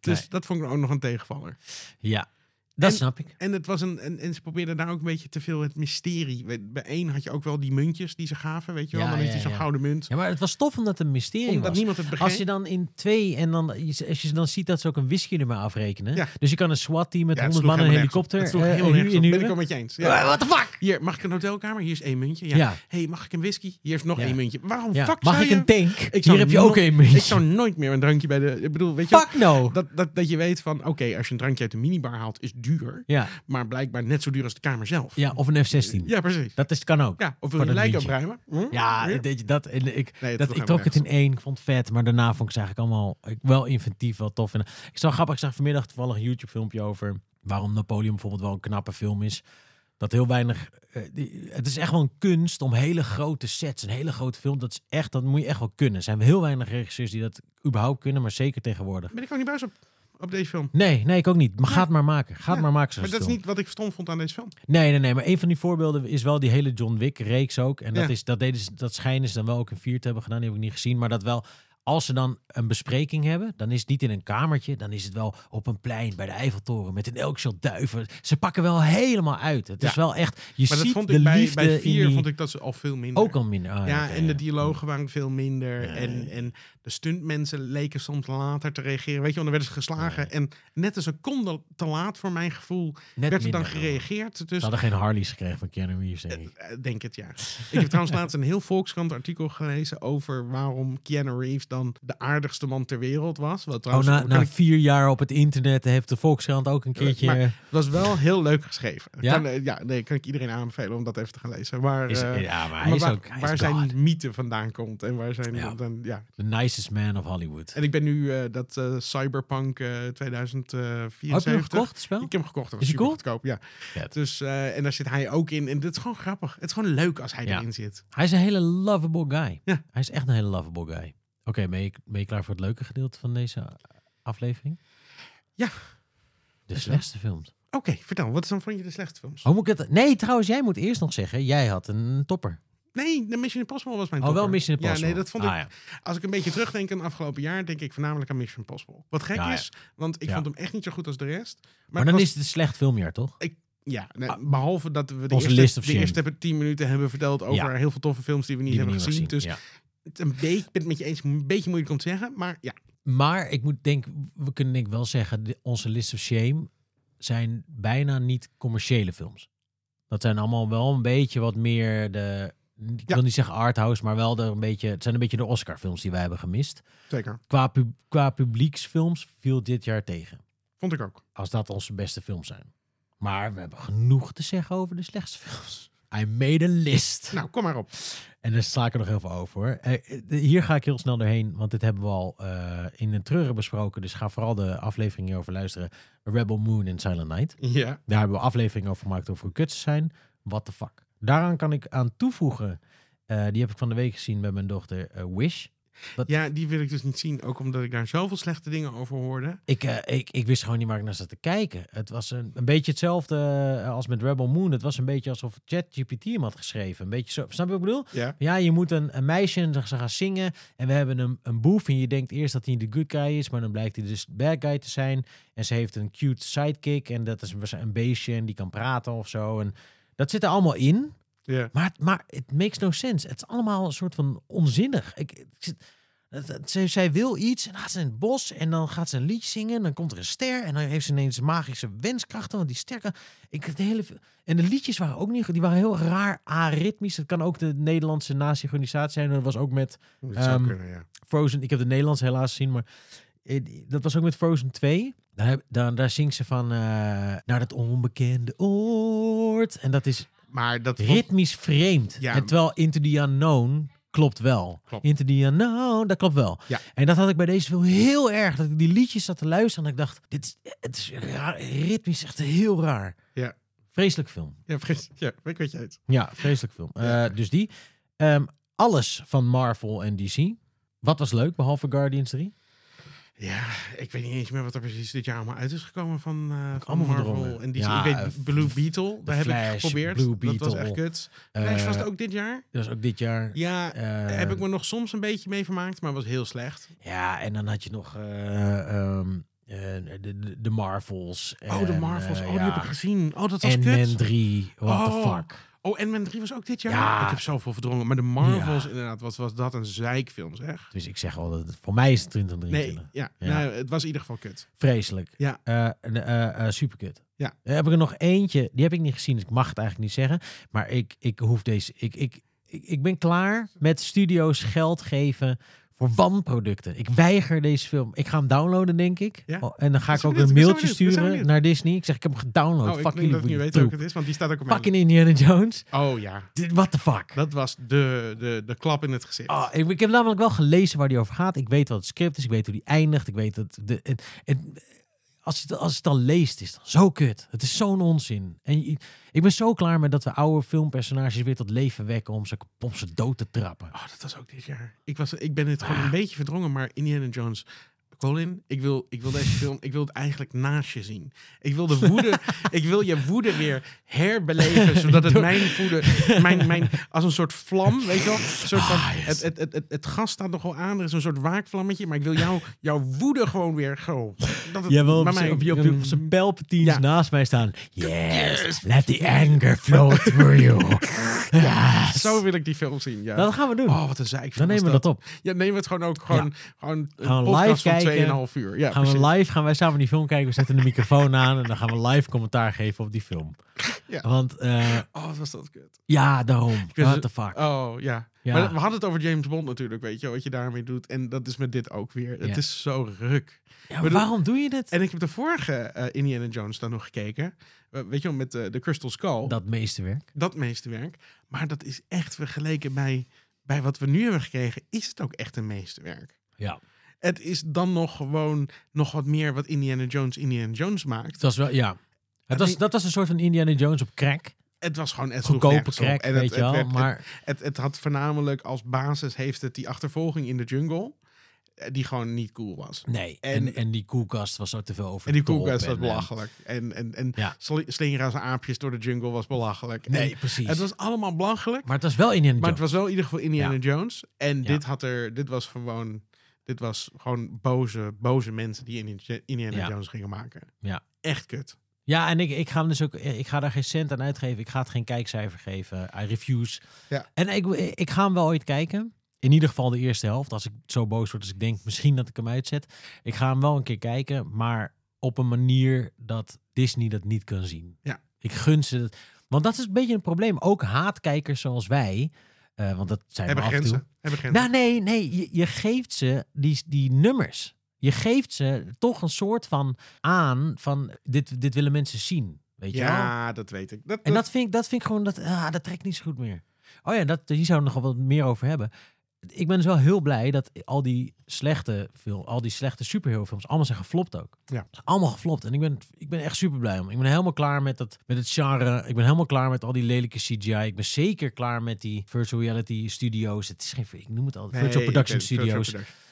S1: Dus
S2: Nee.
S1: dat vond ik ook nog een tegenvaller.
S2: Ja. Dat
S1: En-
S2: snap ik.
S1: En, het was een, en, en ze probeerden daar ook een beetje te veel het mysterie. Bij- Bij één had je ook wel die muntjes die ze gaven, weet je wel.
S2: Ja,
S1: dan heeft
S2: ja,
S1: hij zo'n
S2: ja.
S1: gouden munt.
S2: Ja, maar het was tof omdat het een mysterie
S1: omdat
S2: was.
S1: niemand het begreep.
S2: Als je dan in twee en dan als je dan ziet dat ze ook een whisky-nummer afrekenen.
S1: Ja.
S2: Dus je kan een SWAT-team met
S1: Ja, het
S2: 100
S1: sloeg
S2: man en een
S1: helemaal nergens op.
S2: helikopter
S1: Het sloeg
S2: eh,
S1: heel
S2: inhu-
S1: nergens op. Ben ik
S2: inhuren.
S1: wel met je eens. Ja.
S2: Eh, What the fuck?
S1: Hier, mag ik een hotelkamer? Hier is één muntje. Ja.
S2: Ja.
S1: hey, mag ik een whisky? Hier is nog
S2: Ja.
S1: één muntje. Waarom
S2: Ja.
S1: fuck
S2: Mag
S1: zou
S2: ik
S1: je-
S2: een tank?
S1: zou
S2: Hier heb je ook
S1: no-
S2: een
S1: Ik
S2: muntje.
S1: zou nooit meer een drankje bij de... Ik bedoel, weet je...
S2: Fuck no.
S1: Dat, dat, dat je weet van, oké, als je een drankje uit de minibar haalt, is duur.
S2: Ja.
S1: Maar blijkbaar net zo duur als de kamer zelf.
S2: ja, of een F-16.
S1: Ja, precies.
S2: Dat is, kan ook.
S1: Ja, of
S2: Voor
S1: wil je
S2: dat
S1: lijk
S2: muntje.
S1: opruimen? Hm?
S2: Ja, eh,
S1: Hm?
S2: Weet je, dat, en ik,
S1: Nee, het
S2: dat,
S1: sloeg
S2: ik
S1: helemaal
S2: trok het in één, ik vond het vet. Maar daarna vond ik ze eigenlijk allemaal ik- wel inventief, wel tof. En ik zag grappig, ik zag vanmiddag toevallig een YouTube-filmpje over waarom Napoleon bijvoorbeeld wel een knappe film is. Dat heel weinig. eh, die- het is echt wel een kunst om hele grote sets, een hele grote film. Dat is echt, dat moet je echt wel kunnen. Er zijn heel weinig regisseurs die dat überhaupt kunnen, maar zeker tegenwoordig.
S1: Ben ik ook niet buis op, op deze film.
S2: Nee, nee, ik ook niet. Maar
S1: Nee.
S2: ga het maar maken. Ga het
S1: Ja,
S2: maar maken. zo'n
S1: Maar dat is
S2: film.
S1: niet wat ik stom vond aan deze film.
S2: Nee, nee, nee. Maar een van die voorbeelden is wel die hele John Wick reeks ook. En dat,
S1: Ja.
S2: is, dat, deden ze, dat schijnen ze dan wel ook in vier te hebben gedaan. Die heb ik niet gezien. Maar dat wel, als ze dan een bespreking hebben, dan is het niet in een kamertje. Dan is het wel op een plein bij de Eiffeltoren met een elkshot duiven. Ze pakken wel helemaal uit. Het
S1: Ja.
S2: is wel echt, je
S1: Maar dat
S2: ziet
S1: vond
S2: de
S1: ik bij,
S2: liefde
S1: bij
S2: in
S1: vier
S2: die-
S1: vond ik dat ze al veel minder.
S2: ook al minder. ah,
S1: ja,
S2: oké,
S1: en de
S2: ja.
S1: dialogen waren veel minder.
S2: Ja.
S1: En, en de stuntmensen leken soms later te reageren. Weet je, want dan werden ze geslagen. En net een seconde te laat, voor mijn gevoel,
S2: Net
S1: werd er dan
S2: minder.
S1: gereageerd. Dus
S2: Ze hadden geen Harleys gekregen van Keanu Reeves, denk ik.
S1: Eh, Denk het, ja. Ik heb trouwens laatst een heel Volkskrant artikel gelezen over waarom Keanu Reeves dan de aardigste man ter wereld was. Wat
S2: Oh,
S1: trouwens,
S2: na,
S1: eh, kan
S2: na
S1: ik- Eh,
S2: vier jaar op het internet heeft de Volkskrant ook een keertje...
S1: maar was wel heel leuk geschreven.
S2: Ja?
S1: Kan, eh, ja, nee, kan ik iedereen aanbevelen om dat even te gaan lezen. Maar,
S2: is,
S1: eh,
S2: ja, maar hij
S1: maar
S2: is
S1: waar,
S2: ook... hij is
S1: waar
S2: God.
S1: zijn mythe vandaan komt en waar zijn
S2: Ja.
S1: dan, ja.
S2: The nicest man of Hollywood.
S1: En ik ben nu eh, dat eh, Cyberpunk eh
S2: Heb je hem
S1: 2074.
S2: gekocht, het spel?
S1: Ik heb hem gekocht. Dat
S2: Is
S1: was
S2: hij
S1: super
S2: cool?
S1: goedkoop, ja.
S2: Vet.
S1: Dus, eh, en daar zit hij ook in. En dat is gewoon grappig. Het is gewoon leuk als hij
S2: Ja.
S1: erin zit.
S2: Hij is een hele lovable guy.
S1: Ja.
S2: Hij is echt een hele lovable guy. Oké, ben, je, ben je klaar voor het leuke gedeelte van deze aflevering?
S1: Ja.
S2: De
S1: Is
S2: slechtste films.
S1: Oké, vertel. Wat is dan van je de slechtste films?
S2: Oh, moet ik het... Nee, trouwens, jij moet eerst nog zeggen, jij had een topper.
S1: Nee, de Mission Impossible was mijn
S2: Oh, wel
S1: topper.
S2: Mission Impossible.
S1: Ja, nee, dat vond
S2: Ah,
S1: ik,
S2: ja.
S1: als ik een beetje terugdenk aan het afgelopen jaar, denk ik voornamelijk aan Mission Impossible. Wat gek
S2: Ah, Ja, ja.
S1: is, want ik
S2: Ja.
S1: vond hem echt niet zo goed als de rest. Maar,
S2: Maar
S1: het
S2: dan
S1: was-
S2: is het een slecht filmjaar, toch?
S1: Ja, nee, behalve dat we de
S2: Onze list
S1: eerste,
S2: of
S1: de
S2: shame.
S1: eerste tien minuten hebben verteld over heel veel toffe films die we niet
S2: Die we
S1: hebben
S2: niet
S1: gezien.
S2: hebben
S1: Dus
S2: gezien,
S1: het een beetje, ik ben het met je eens, een beetje moeilijk om te zeggen. Maar ja,
S2: ja. Maar ik moet denk, we kunnen denk ik wel zeggen, de- onze list of shame zijn bijna niet commerciële films. Dat zijn allemaal wel een beetje wat meer de... Ik
S1: Ja.
S2: wil niet zeggen arthouse, maar wel de een beetje... Het zijn een beetje de Oscar-films die wij hebben gemist.
S1: zeker.
S2: qua, pub- qua publieksfilms viel dit jaar tegen.
S1: Vond ik ook.
S2: Als dat onze beste films zijn. Maar we hebben genoeg te zeggen over de slechtste films. I made a list.
S1: Nou, kom maar op.
S2: En daar sla ik er nog heel veel over. hoor. Eh, eh, de- hier ga ik heel snel doorheen, want dit hebben we al eh, in de treuren besproken. Dus ga vooral de aflevering hierover luisteren. Rebel Moon en Silent Night.
S1: Ja,
S2: Daar hebben we afleveringen over gemaakt over hoe kut ze zijn. What the fuck. Daaraan kan ik aan toevoegen. eh, die heb ik van de week gezien bij mijn dochter eh, Wish. Dat-
S1: ja, die wil ik dus niet zien. Ook omdat ik daar zoveel slechte dingen over hoorde.
S2: Ik, eh, ik, ik wist gewoon niet waar ik naar zat te kijken. Het was een, een beetje hetzelfde eh, als met Rebel Moon. Het was een beetje alsof ChatGPT hem had geschreven. Een beetje zo, snap je wat ik bedoel?
S1: Ja.
S2: Ja, je moet een, een meisje en ze gaan zingen. En we hebben een, een boef. En je denkt eerst dat hij de good guy is. Maar dan blijkt hij dus de bad guy te zijn. En ze heeft een cute sidekick. En dat is een, een beestje. En die kan praten of zo. En dat zit er allemaal in.
S1: ja.
S2: Maar, het- maar it makes no sense. Het is allemaal een soort van onzinnig. Ik, ik zit- het- het- ze, zij wil iets en dan gaat ze in het bos en dan gaat ze een liedje zingen. En dan komt er een ster en dan heeft ze ineens magische wenskrachten. Want die sterke... Ik, het hele, en de liedjes waren ook niet... goed. Die waren heel raar aritmisch. Dat kan ook de Nederlandse nasynchronisatie zijn. Dat was ook met
S1: Dat zou
S2: Ehm,
S1: kunnen, ja.
S2: Frozen... Ik heb de Nederlands helaas gezien, maar... eh, die- Dat was ook met Frozen 2. Daar, heb- daar, daar zingt ze van eh, naar dat onbekende oord. En dat is
S1: Maar dat vond-
S2: ritmisch vreemd.
S1: Ja.
S2: En terwijl Into the Unknown klopt wel.
S1: Klopt.
S2: Into the Unknown, dat klopt wel.
S1: Ja.
S2: En dat had ik bij deze film heel erg. Dat ik die liedjes zat te luisteren en ik dacht, dit is, het is raar, ritmisch echt heel raar.
S1: Ja.
S2: Vreselijk film.
S1: Ja, vergis, ja, ik weet je het.
S2: Ja, vreselijk film.
S1: Ja.
S2: Eh, dus die. Ehm, alles van Marvel en DC. Wat was leuk, behalve Guardians 3?
S1: Ja, ik weet niet eens meer wat er precies dit jaar allemaal uit is gekomen van, eh, van
S2: allemaal
S1: Marvel.
S2: verdrongen.
S1: En die
S2: Ja,
S1: ik
S2: eh,
S1: weet, Blue Beetle, daar heb
S2: Flash,
S1: ik geprobeerd.
S2: Blue
S1: Dat was
S2: Beetle.
S1: echt kut.
S2: Eh,
S1: Flash was het ook dit jaar?
S2: Dat is ook dit jaar.
S1: Ja,
S2: Eh,
S1: heb ik me nog soms een beetje mee vermaakt, maar was heel slecht.
S2: Ja, en dan had je nog eh, ehm, eh, de, de, de Marvels.
S1: Oh, de Marvels. Oh, die heb ik gezien. Oh, dat was
S2: eh, En
S1: kut.
S2: Man 3, what the
S1: Oh.
S2: fuck.
S1: Oh, en Man 3 was ook dit jaar?
S2: Ja.
S1: Ik heb zoveel verdrongen. Maar de Marvels,
S2: Ja.
S1: inderdaad, wat was dat een zeikfilm, zeg.
S2: Dus ik zeg al dat het voor mij is het 2023.
S1: Nee, ja,
S2: Ja.
S1: Nou, het was in ieder geval kut.
S2: Vreselijk.
S1: Ja.
S2: Eh, en, eh, eh, superkut.
S1: Ja.
S2: Dan heb ik er nog eentje. Die heb ik niet gezien, dus ik mag het eigenlijk niet zeggen. Maar ik, ik hoef deze... Ik, ik, ik, ik ben klaar met studio's geld geven voor wanproducten. Ik weiger deze film. Ik ga hem downloaden, denk ik.
S1: Ja.
S2: Oh, en dan ga
S1: Ik
S2: ik
S1: ben
S2: ook
S1: benieuwd,
S2: een
S1: ik ben zo
S2: mailtje
S1: benieuwd, ik ben zo
S2: sturen
S1: benieuwd.
S2: naar Disney. Ik zeg, ik heb hem gedownload.
S1: oh, ik
S2: Fuck
S1: denk
S2: jullie
S1: dat ik niet
S2: voor
S1: weet
S2: die
S1: welke
S2: troep.
S1: het is, want die staat ook op mijn...
S2: Fucking Indiana Jones.
S1: Oh ja,
S2: Dit- What the fuck?
S1: dat was de, de, de klap in het gezicht.
S2: Ah, ik, ik heb namelijk wel gelezen waar die over gaat. Ik weet wat het script is. Ik weet hoe die eindigt. Ik weet dat. De, het, het- als, je het, als je het dan leest, is het dan zo kut. Het is zo'n onzin. En je- ik ben zo klaar met dat we oude filmpersonages weer tot leven wekken om ze, om ze dood te trappen.
S1: Oh, dat was ook dit jaar. Ik, was, ik ben het gewoon
S2: Ah.
S1: een beetje verdrongen, maar Indiana Jones... Colin, ik wil, ik wil deze film, ik wil het eigenlijk naast je zien. Ik wil de
S2: [LAUGHS]
S1: woede, ik wil je woede weer herbeleven, zodat het mijn woede, mijn, mijn, als een soort vlam, weet je wel? Een soort van,
S2: Ah, yes.
S1: het, het, het, het, het gas staat nog wel aan, er is een soort waakvlammetje, maar ik wil jou, jouw woede gewoon weer, gewoon, dat het
S2: Jij wil op
S1: bij
S2: zijn-
S1: mij- Mm,
S2: op je- op je- op zijn pijlpatiens
S1: Ja.
S2: naast mij staan. Yes, let the anger flow through you. Yes.
S1: Zo wil ik die film zien, ja.
S2: [LAUGHS] Dat gaan we doen.
S1: Oh, wat een zeik.
S2: dan nemen we dat op.
S1: Ja, neem het gewoon ook gewoon, gewoon een
S2: Gaan we live
S1: podcast
S2: kijken.
S1: van 2,5 uur. Ja,
S2: gaan
S1: precies.
S2: we live, gaan wij samen die film kijken. We zetten de microfoon aan en dan gaan we live commentaar geven op die film.
S1: Ja.
S2: Want eh,
S1: Oh, wat was dat kut.
S2: ja, daarom.
S1: ben
S2: What
S1: zo-
S2: the fuck.
S1: Oh, ja.
S2: Ja.
S1: Maar we hadden het over James Bond natuurlijk, weet je, wat je daarmee doet. En dat is met dit ook weer.
S2: Ja.
S1: Het is zo ruk.
S2: Ja, maar
S1: bedoel-
S2: waarom doe je dit?
S1: En ik heb de vorige eh, Indiana Jones dan nog gekeken. Eh, weet je wel, met eh, de Crystal Skull. Dat,
S2: Dat meesterwerk.
S1: meesterwerk. Maar dat is echt vergeleken bij, bij wat we nu hebben gekregen, is het ook echt een meesterwerk.
S2: Ja.
S1: Het is dan nog gewoon nog wat meer wat Indiana Jones Indiana Jones maakt.
S2: Het was wel, ja. Het was,
S1: die-
S2: dat was een soort van Indiana Jones op crack.
S1: Het was gewoon echt
S2: Goedkope crack,
S1: En
S2: weet
S1: het,
S2: je wel.
S1: het werd-
S2: maar
S1: Het, het had voornamelijk als basis heeft het die achtervolging in de jungle, eh, die gewoon niet cool was.
S2: nee. En,
S1: en-
S2: en, die koelkast was ook te veel over
S1: En die
S2: de top
S1: koelkast was
S2: en,
S1: belachelijk. En, en, en
S2: Ja.
S1: sli- slingeren als aapjes door de jungle was belachelijk.
S2: en- Nee,
S1: En
S2: precies.
S1: het was allemaal belachelijk,
S2: maar het was wel Indiana
S1: maar
S2: Jones.
S1: het was wel in ieder geval Indiana
S2: Ja.
S1: Jones. En
S2: Ja.
S1: dit, had er, dit was gewoon, dit was gewoon boze, boze mensen die Indi- Indiana
S2: Ja.
S1: Jones gingen maken.
S2: Ja.
S1: Echt kut.
S2: Ja, en ik, ik ga hem dus ook. Ik ga daar geen cent aan uitgeven. Ik ga het geen kijkcijfer geven. I refuse.
S1: Ja.
S2: En ik, eh, ik ga hem wel ooit kijken. In ieder geval de eerste helft. Als ik zo boos word, als ik denk misschien dat ik hem uitzet. Ik ga hem wel een keer kijken, maar op een manier dat Disney dat niet kan zien.
S1: Ja.
S2: Ik gun ze dat. Want dat is een beetje een probleem. Ook haatkijkers zoals wij. eh, want dat zijn we
S1: Hebben
S2: af en toe.
S1: grenzen. Hebben grenzen.
S2: Nou, nee, nee. Je, je geeft ze die, die nummers. Je geeft ze toch een soort van aan van dit, dit willen mensen zien. Weet je wel?
S1: ja, dat weet ik. Dat,
S2: En
S1: dat-
S2: dat vind ik, dat vind ik gewoon, dat, ah, dat trekt niet zo goed meer. Oh ja, dat, hier zouden we nog wel wat meer over hebben. Ik ben dus wel heel blij dat al die slechte, film, al die slechte superheroefilms allemaal zijn geflopt ook.
S1: Ja.
S2: Allemaal geflopt. En ik ben, ik ben echt super blij om. Ik ben helemaal klaar met, dat, met het genre. Ik ben helemaal klaar met al die lelijke CGI. Ik ben zeker klaar met die virtual reality studio's. Het is geen, ik noem het al,
S1: Nee,
S2: virtual
S1: ik
S2: production
S1: weet het, virtual
S2: studios.
S1: production.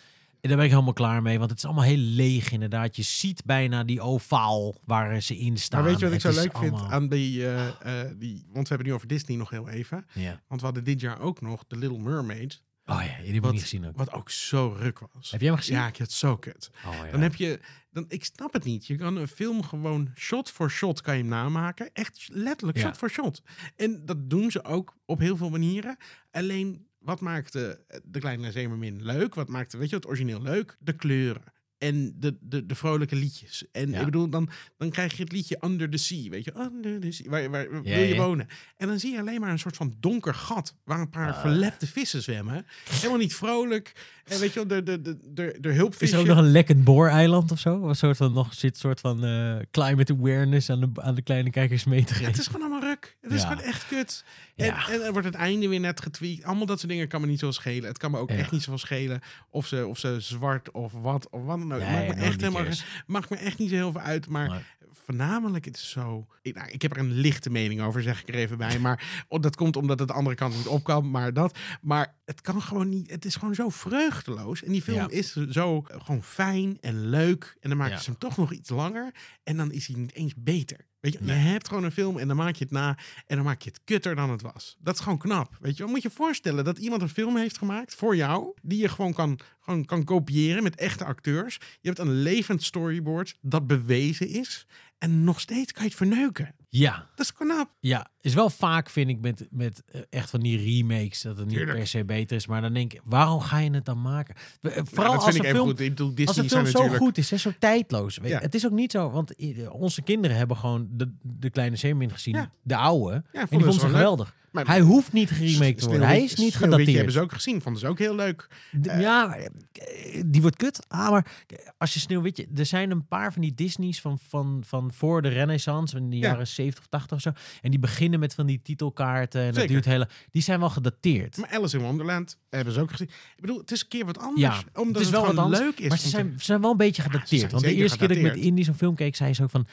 S2: En daar ben ik helemaal klaar mee, want het is allemaal heel leeg inderdaad. Je ziet bijna die ovaal waar ze in staan.
S1: Maar weet je wat ik
S2: Nou, Het
S1: zo
S2: is
S1: leuk vind
S2: allemaal-
S1: aan die, eh, eh, die... Want we hebben het nu over Disney nog heel even.
S2: Ja.
S1: Want we hadden dit jaar ook nog The Little Mermaid.
S2: Oh ja, die heb ik
S1: Wat-
S2: niet gezien ook.
S1: Wat ook zo ruk was.
S2: Heb jij hem gezien?
S1: Ja, ik heb het zo kut.
S2: Oh, ja.
S1: Dan heb je... Dan, ik snap het niet. Je kan een film gewoon shot voor shot kan je hem namaken. Echt letterlijk
S2: Ja.
S1: shot voor shot. En dat doen ze ook op heel veel manieren. Alleen, wat maakte eh, De Kleine Zeemermin leuk? Wat maakte, weet je, het origineel leuk? De kleuren. En de, de, de vrolijke liedjes. En
S2: Ja.
S1: ik bedoel, dan, dan krijg je het liedje Under the Sea. Weet je, Under the Sea. Waar, waar wil
S2: Ja,
S1: je
S2: ja.
S1: wonen? En dan zie je alleen maar een soort van donker gat. Waar een paar
S2: Ah.
S1: verlepte vissen zwemmen. Helemaal niet vrolijk. En weet je, wel, de, de, de, de, de hulpvisje.
S2: [LAUGHS] Is er ook nog een lekkend booreiland of zo? Of Een soort van, nog zit soort van eh, climate awareness aan de, aan de kleine kijkers mee te
S1: Ja,
S2: geven.
S1: het is gewoon allemaal ruk. Het is
S2: Ja.
S1: gewoon echt kut. En,
S2: Ja.
S1: en er wordt het einde weer net getweakt. Allemaal dat soort dingen kan me niet zo schelen. Het kan me ook
S2: Ja.
S1: echt niet zo schelen of ze, of ze zwart of wat of wat dan ook. Het
S2: Nee,
S1: maakt, me
S2: no
S1: echt helemaal,
S2: details.
S1: maakt me echt niet zo heel veel uit. Maar
S2: Nee.
S1: voornamelijk, het is zo... Ik, nou, ik heb er een lichte mening over, zeg ik er even bij. Maar oh, dat komt omdat het de andere kant niet op kan, maar dat. Maar het kan gewoon niet... Het is gewoon zo vreugdeloos. En die film
S2: Ja.
S1: is zo eh, gewoon fijn en leuk. En dan maken
S2: Ja.
S1: ze hem toch nog iets langer. En dan is hij niet eens beter. Weet je,
S2: Nee.
S1: je hebt gewoon een film en dan maak je het na en dan maak je het kutter dan het was. Dat is gewoon knap. Weet je, wel. moet je je voorstellen dat iemand een film heeft gemaakt voor jou, die je gewoon kan, gewoon kan kopiëren met echte acteurs. Je hebt een levend storyboard dat bewezen is en nog steeds kan je het verneuken.
S2: Ja,
S1: Dat is knap.
S2: ja. Is wel vaak, vind ik, met, met eh, echt van die remakes dat het niet
S1: Tuurlijk.
S2: per se beter is. Maar dan denk ik, waarom ga je het dan maken? We- eh,
S1: Ja,
S2: Vooral
S1: dat
S2: als
S1: vind
S2: een
S1: ik even
S2: film
S1: goed. Ik bedoel,
S2: Als
S1: Disney
S2: de film
S1: zijn natuurlijk...
S2: zo goed is, hè, zo tijdloos. Weet je.
S1: Ja.
S2: Het is ook niet zo, want i- onze kinderen hebben gewoon de, de kleine Zeemeermin gezien,
S1: Ja.
S2: de oude.
S1: Ja,
S2: en die
S1: vonden
S2: vond
S1: ze
S2: ze
S1: wel leuk.
S2: geweldig.
S1: Maar-
S2: Hij hoeft niet geremaked te worden. Hij is niet
S1: Sneeuwwitje hebben
S2: gedateerd.
S1: ze ook gezien, vonden ze ook heel leuk.
S2: De- ja, maar, eh, die wordt kut. Ah, maar eh, als je Sneeuwwitje... Er zijn een paar van die Disney's van, van, van voor de renaissance, in de
S1: Ja.
S2: jaren 70 of 80 of zo. En die beginnen met van die titelkaarten. En dat
S1: Zeker.
S2: duurt hele... Die zijn wel gedateerd.
S1: Maar Alice in Wonderland hebben ze ook gezien. Ik bedoel, het is een keer wat anders.
S2: Ja,
S1: omdat
S2: het
S1: het,
S2: is wel wat
S1: gewoon
S2: anders,
S1: leuk is.
S2: maar ze
S1: om te-
S2: zijn, ze zijn wel een beetje
S1: ze
S2: gedateerd.
S1: zijn
S2: want de
S1: zeker
S2: eerste keer dat ik met
S1: gedateerd.
S2: Indie zo'n film keek, zei ze ook van...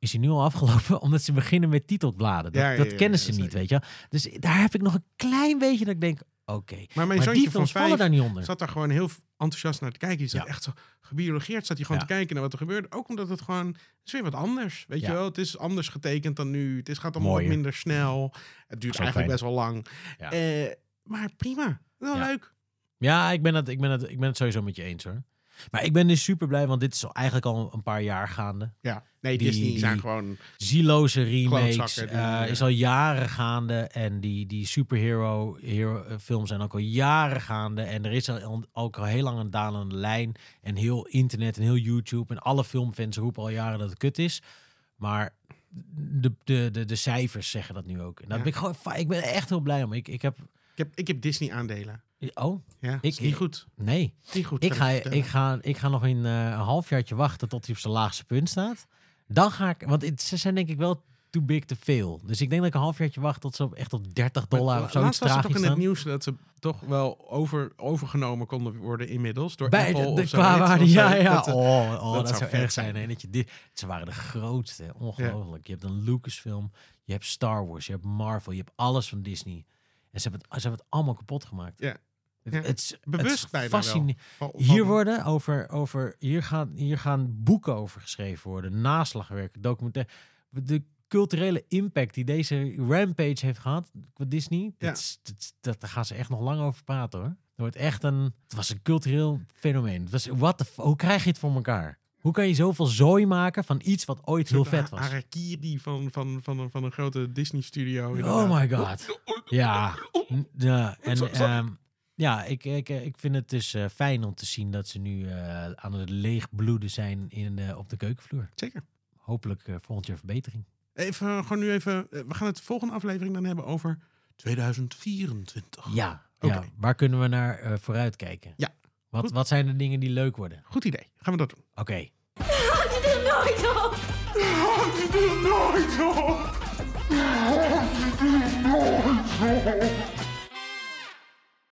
S2: Is hij nu al afgelopen? [LAUGHS] Omdat ze beginnen met titelbladen. Dat,
S1: Ja, ja,
S2: dat
S1: ja,
S2: kennen
S1: ja,
S2: ze niet,
S1: zeker.
S2: weet je wel. Dus daar heb ik nog een klein beetje dat ik denk... Oké,
S1: Maar mijn
S2: maar die
S1: zoontje van
S2: films vallen
S1: vijf
S2: daar niet onder.
S1: zat daar gewoon heel enthousiast naar te kijken. Die zat
S2: Ja.
S1: echt zo gebiologeerd. Zat hij gewoon
S2: Ja.
S1: te kijken naar wat er gebeurde. Ook omdat het gewoon... Het is weer wat anders. Weet
S2: Ja.
S1: je wel? Het is anders getekend dan nu. Het is, gaat allemaal wat
S2: Mooier.
S1: minder snel. Het duurt
S2: Dat is ook
S1: eigenlijk best wel lang.
S2: Ja.
S1: Eh, maar prima. Wel
S2: Ja.
S1: leuk.
S2: Ja, ik ben, het, ik, ben het, ik ben het sowieso met je eens hoor. Maar ik ben dus super blij, want dit is al eigenlijk al een paar jaar gaande.
S1: Ja. Nee,
S2: Die-
S1: Disney zijn
S2: die-
S1: gewoon...
S2: Zieloze remakes
S1: Klootzakken,
S2: eh,
S1: die, eh,
S2: is al jaren gaande. En die, die superhero hero, eh, films zijn ook al jaren gaande. En er is al, al- ook al heel lang een dalende lijn. En heel internet en heel YouTube. En alle filmfans roepen al jaren dat het kut is. Maar de, de, de, de cijfers zeggen dat nu ook. En daar
S1: Ja.
S2: ben ik, gewoon, fa- ik ben er echt heel blij om. Ik, ik heb...
S1: Ik heb, ik heb Disney aandelen.
S2: Oh,
S1: Ja, ik,
S2: Ik-
S1: is niet goed.
S2: nee.
S1: Niet goed.
S2: Ik
S1: kan
S2: ga,
S1: je vertellen.
S2: ik, ga, ik ga nog een, eh, een halfjaartje wachten tot hij op zijn laagste punt staat. Dan ga ik, want het, ze zijn denk ik wel too big to fail. Dus ik denk dat ik een halfjaartje wacht tot ze op, echt op 30
S1: Maar
S2: dollar
S1: la-
S2: of zo iets
S1: Laatst was het toch
S2: tragisch
S1: in het
S2: staan.
S1: nieuws dat ze toch wel over, overgenomen konden worden inmiddels door
S2: Bij
S1: Apple
S2: de, de
S1: of zo.
S2: qua
S1: Net
S2: waarde,
S1: als,
S2: ja,
S1: eh,
S2: ja.
S1: dat, eh,
S2: oh, oh, dat,
S1: dat zou
S2: zou
S1: vet
S2: erg zijn.
S1: zijn.
S2: Hè? Dat je dit, ze waren de grootste, ongelooflijk. Je hebt een Lucasfilm, je hebt Star Wars, je hebt Marvel, je hebt alles van Disney. En ze hebben het, ze hebben het allemaal kapot gemaakt.
S1: Ja.
S2: Het,
S1: Ja.
S2: het is- het is
S1: Bewust bijna wel.
S2: fascine-
S1: van- van-
S2: Hier, worden over, over, hier, gaan, hier gaan boeken over geschreven worden, naslagwerk, documentaire. De culturele impact die deze Rampage heeft gehad qua Disney,
S1: Ja.
S2: dat, is- dat, is- dat, daar gaan ze echt nog lang over praten hoor. Het, wordt echt een, het was een cultureel fenomeen. Het was, what the f- hoe krijg je het voor elkaar? Hoe kan je zoveel zooi maken van iets wat ooit heel
S1: Een soort
S2: vet was?
S1: Harakiri van, van, van, een- van een grote Disney studio. inderdaad.
S2: Oh my god. Ja. N- ja. En
S1: Sorry, sorry.
S2: ehm, ja, ik, ik, ik vind het dus eh, fijn om te zien dat ze nu eh, aan het leegbloeden zijn in, eh, op de keukenvloer.
S1: Zeker.
S2: Hopelijk eh, volgend jaar verbetering.
S1: Even, eh, gewoon nu even, eh, we gaan het volgende aflevering dan hebben over 2024.
S2: Ja. ja.
S1: Oké.
S2: Waar kunnen we naar eh, vooruit kijken?
S1: Ja.
S2: Wat,
S1: Goed.
S2: wat zijn de dingen die leuk worden?
S1: Goed idee, gaan we dat doen.
S2: Oké.
S3: Houd het er nooit op!
S4: Nooit op! Nooit op!